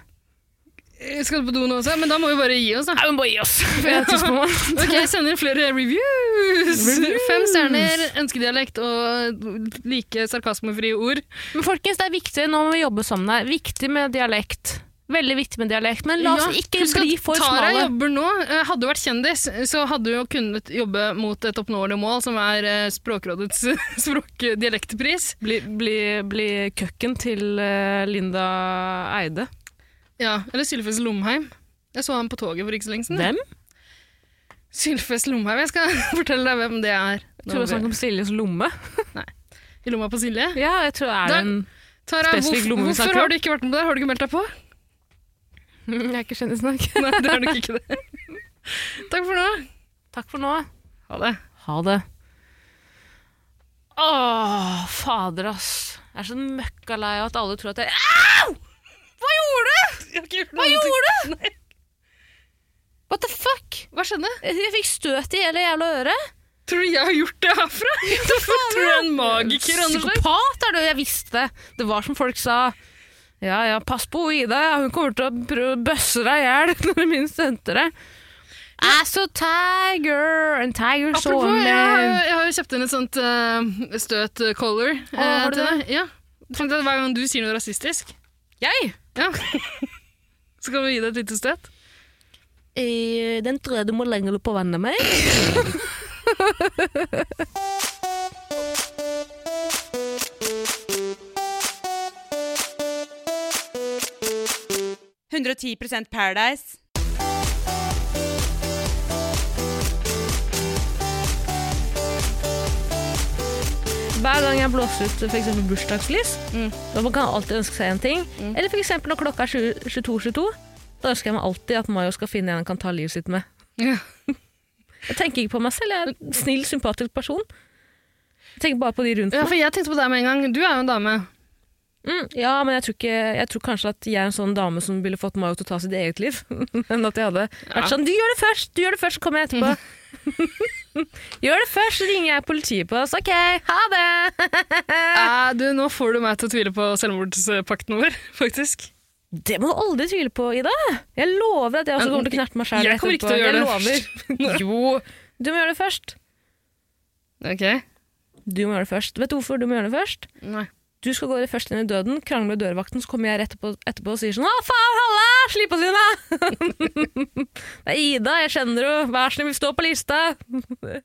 Eh, Skal du på do nå også? Men da må vi bare gi oss, da.
Nei, hun bare gi [LAUGHS] oss. For jeg har tusen på meg.
Ok, jeg sender flere reviews! Fem stjerner, ønskedialekt og like sarkasmefrie ord.
Men folkens, det er viktig, nå må vi jobbe sammen her. Viktig med dialekt. Veldig viktig med dialekt, men la oss
Ja,
ikke
husk at
bli for
Tara
smale.
jobber nå. Eh, Hadde du vært kjendis, så hadde du jo kunnet jobbe mot et oppnåelig mål, som er eh, Språkrådets [LAUGHS] språkdialektpris.
Bli, bli, bli køkken til eh, Linda Eide.
Ja, eller Sylfes Lomheim. Jeg så ham på toget for ikke så lenge siden.
Hvem?
Sylfes Lomheim. Jeg skal [LAUGHS] fortelle deg hvem det er.
Jeg tror det sånn var snakk om Siljes lomme.
I lomma på Silje.
[LAUGHS] Ja, jeg tror er
Da-
det en...
Tara,
Spesifikk
hvorfor,
lomme vi snakker
hvorfor
om.
har du ikke vært med på det? Har du ikke meldt deg på?
[LAUGHS] Jeg er ikke kjendisnok.
Nei, det er nok ikke det. Takk for nå.
[LAUGHS] Takk for nå.
Ha det.
Ha det. Åh, fader ass. Jeg er så møkka lei av at alle tror at jeg... Au! Hva gjorde du? Hva gjorde du? What the fuck?
Hva skjedde?
Jeg fikk støt i hele jævla øret.
Tror du jeg har gjort det herfra? Hvorfor tror du jeg er en magiker? Anders?
Psykopat er du, jeg visste det. Det var som folk sa. Ja, ja, pass på Ida, ja. hun kommer til å prøve å bøsse deg i hjel [LAUGHS] når hun minst venter det. As a tiger, and tiger saw
Apropos, jeg,
me.
har- jeg har jo kjøpt inn et sånt eh, støt eh, collar. eh,
har du
til deg. Ja. Jeg Fant ut at hver gang du sier noe rasistisk,
Jeg?
ja. så kan vi gi deg et lite støt.
Eh, Den tror jeg du må lenger på vannet med.
Paradise.
Hver gang jeg blåser ut for eksempel bursdagslys,
Mm.
da kan jeg alltid ønske seg en ting. Eller for eksempel når klokka er 22.22, da ønsker jeg meg alltid at Mayo skal finne en han kan ta livet sitt med.
Ja.
Jeg tenker ikke på meg selv, jeg er en snill, sympatisk person. Jeg tenker bare på de rundt
Ja,
meg.
for jeg tenkte på deg med en gang. Du er jo en dame.
Mm, ja, men jeg tror, ikke, jeg tror kanskje at jeg er en sånn dame som ville fått Mayo til å ta sitt eget liv. [LAUGHS] Men at jeg hadde vært sånn, du gjør det først, du gjør det først, så kommer jeg etterpå.
[LAUGHS]
[LAUGHS] gjør det først, så ringer jeg politiet på oss. Ok, ha det!
Eh, du, nå får du meg til å tvile på selvmordspakten vår, [LAUGHS] faktisk.
Det må du aldri tvile på, Ida. Jeg lover at jeg også kommer til å knerte meg sjæl.
Jeg kommer ikke til å gjøre det.
lover. Jo, du må gjøre det først.
Ok.
Du må gjøre det først. Vet du hvorfor du må gjøre det først?
Nei.
Du skal gå først inn i døden, krangle med dørvakten, så kommer jeg rett etterpå, etterpå og sier sånn 'Å, faen, halla! Slipp oss [LAUGHS] inn, da!' det er Ida, jeg kjenner henne. Vær så snill, vi står på lista.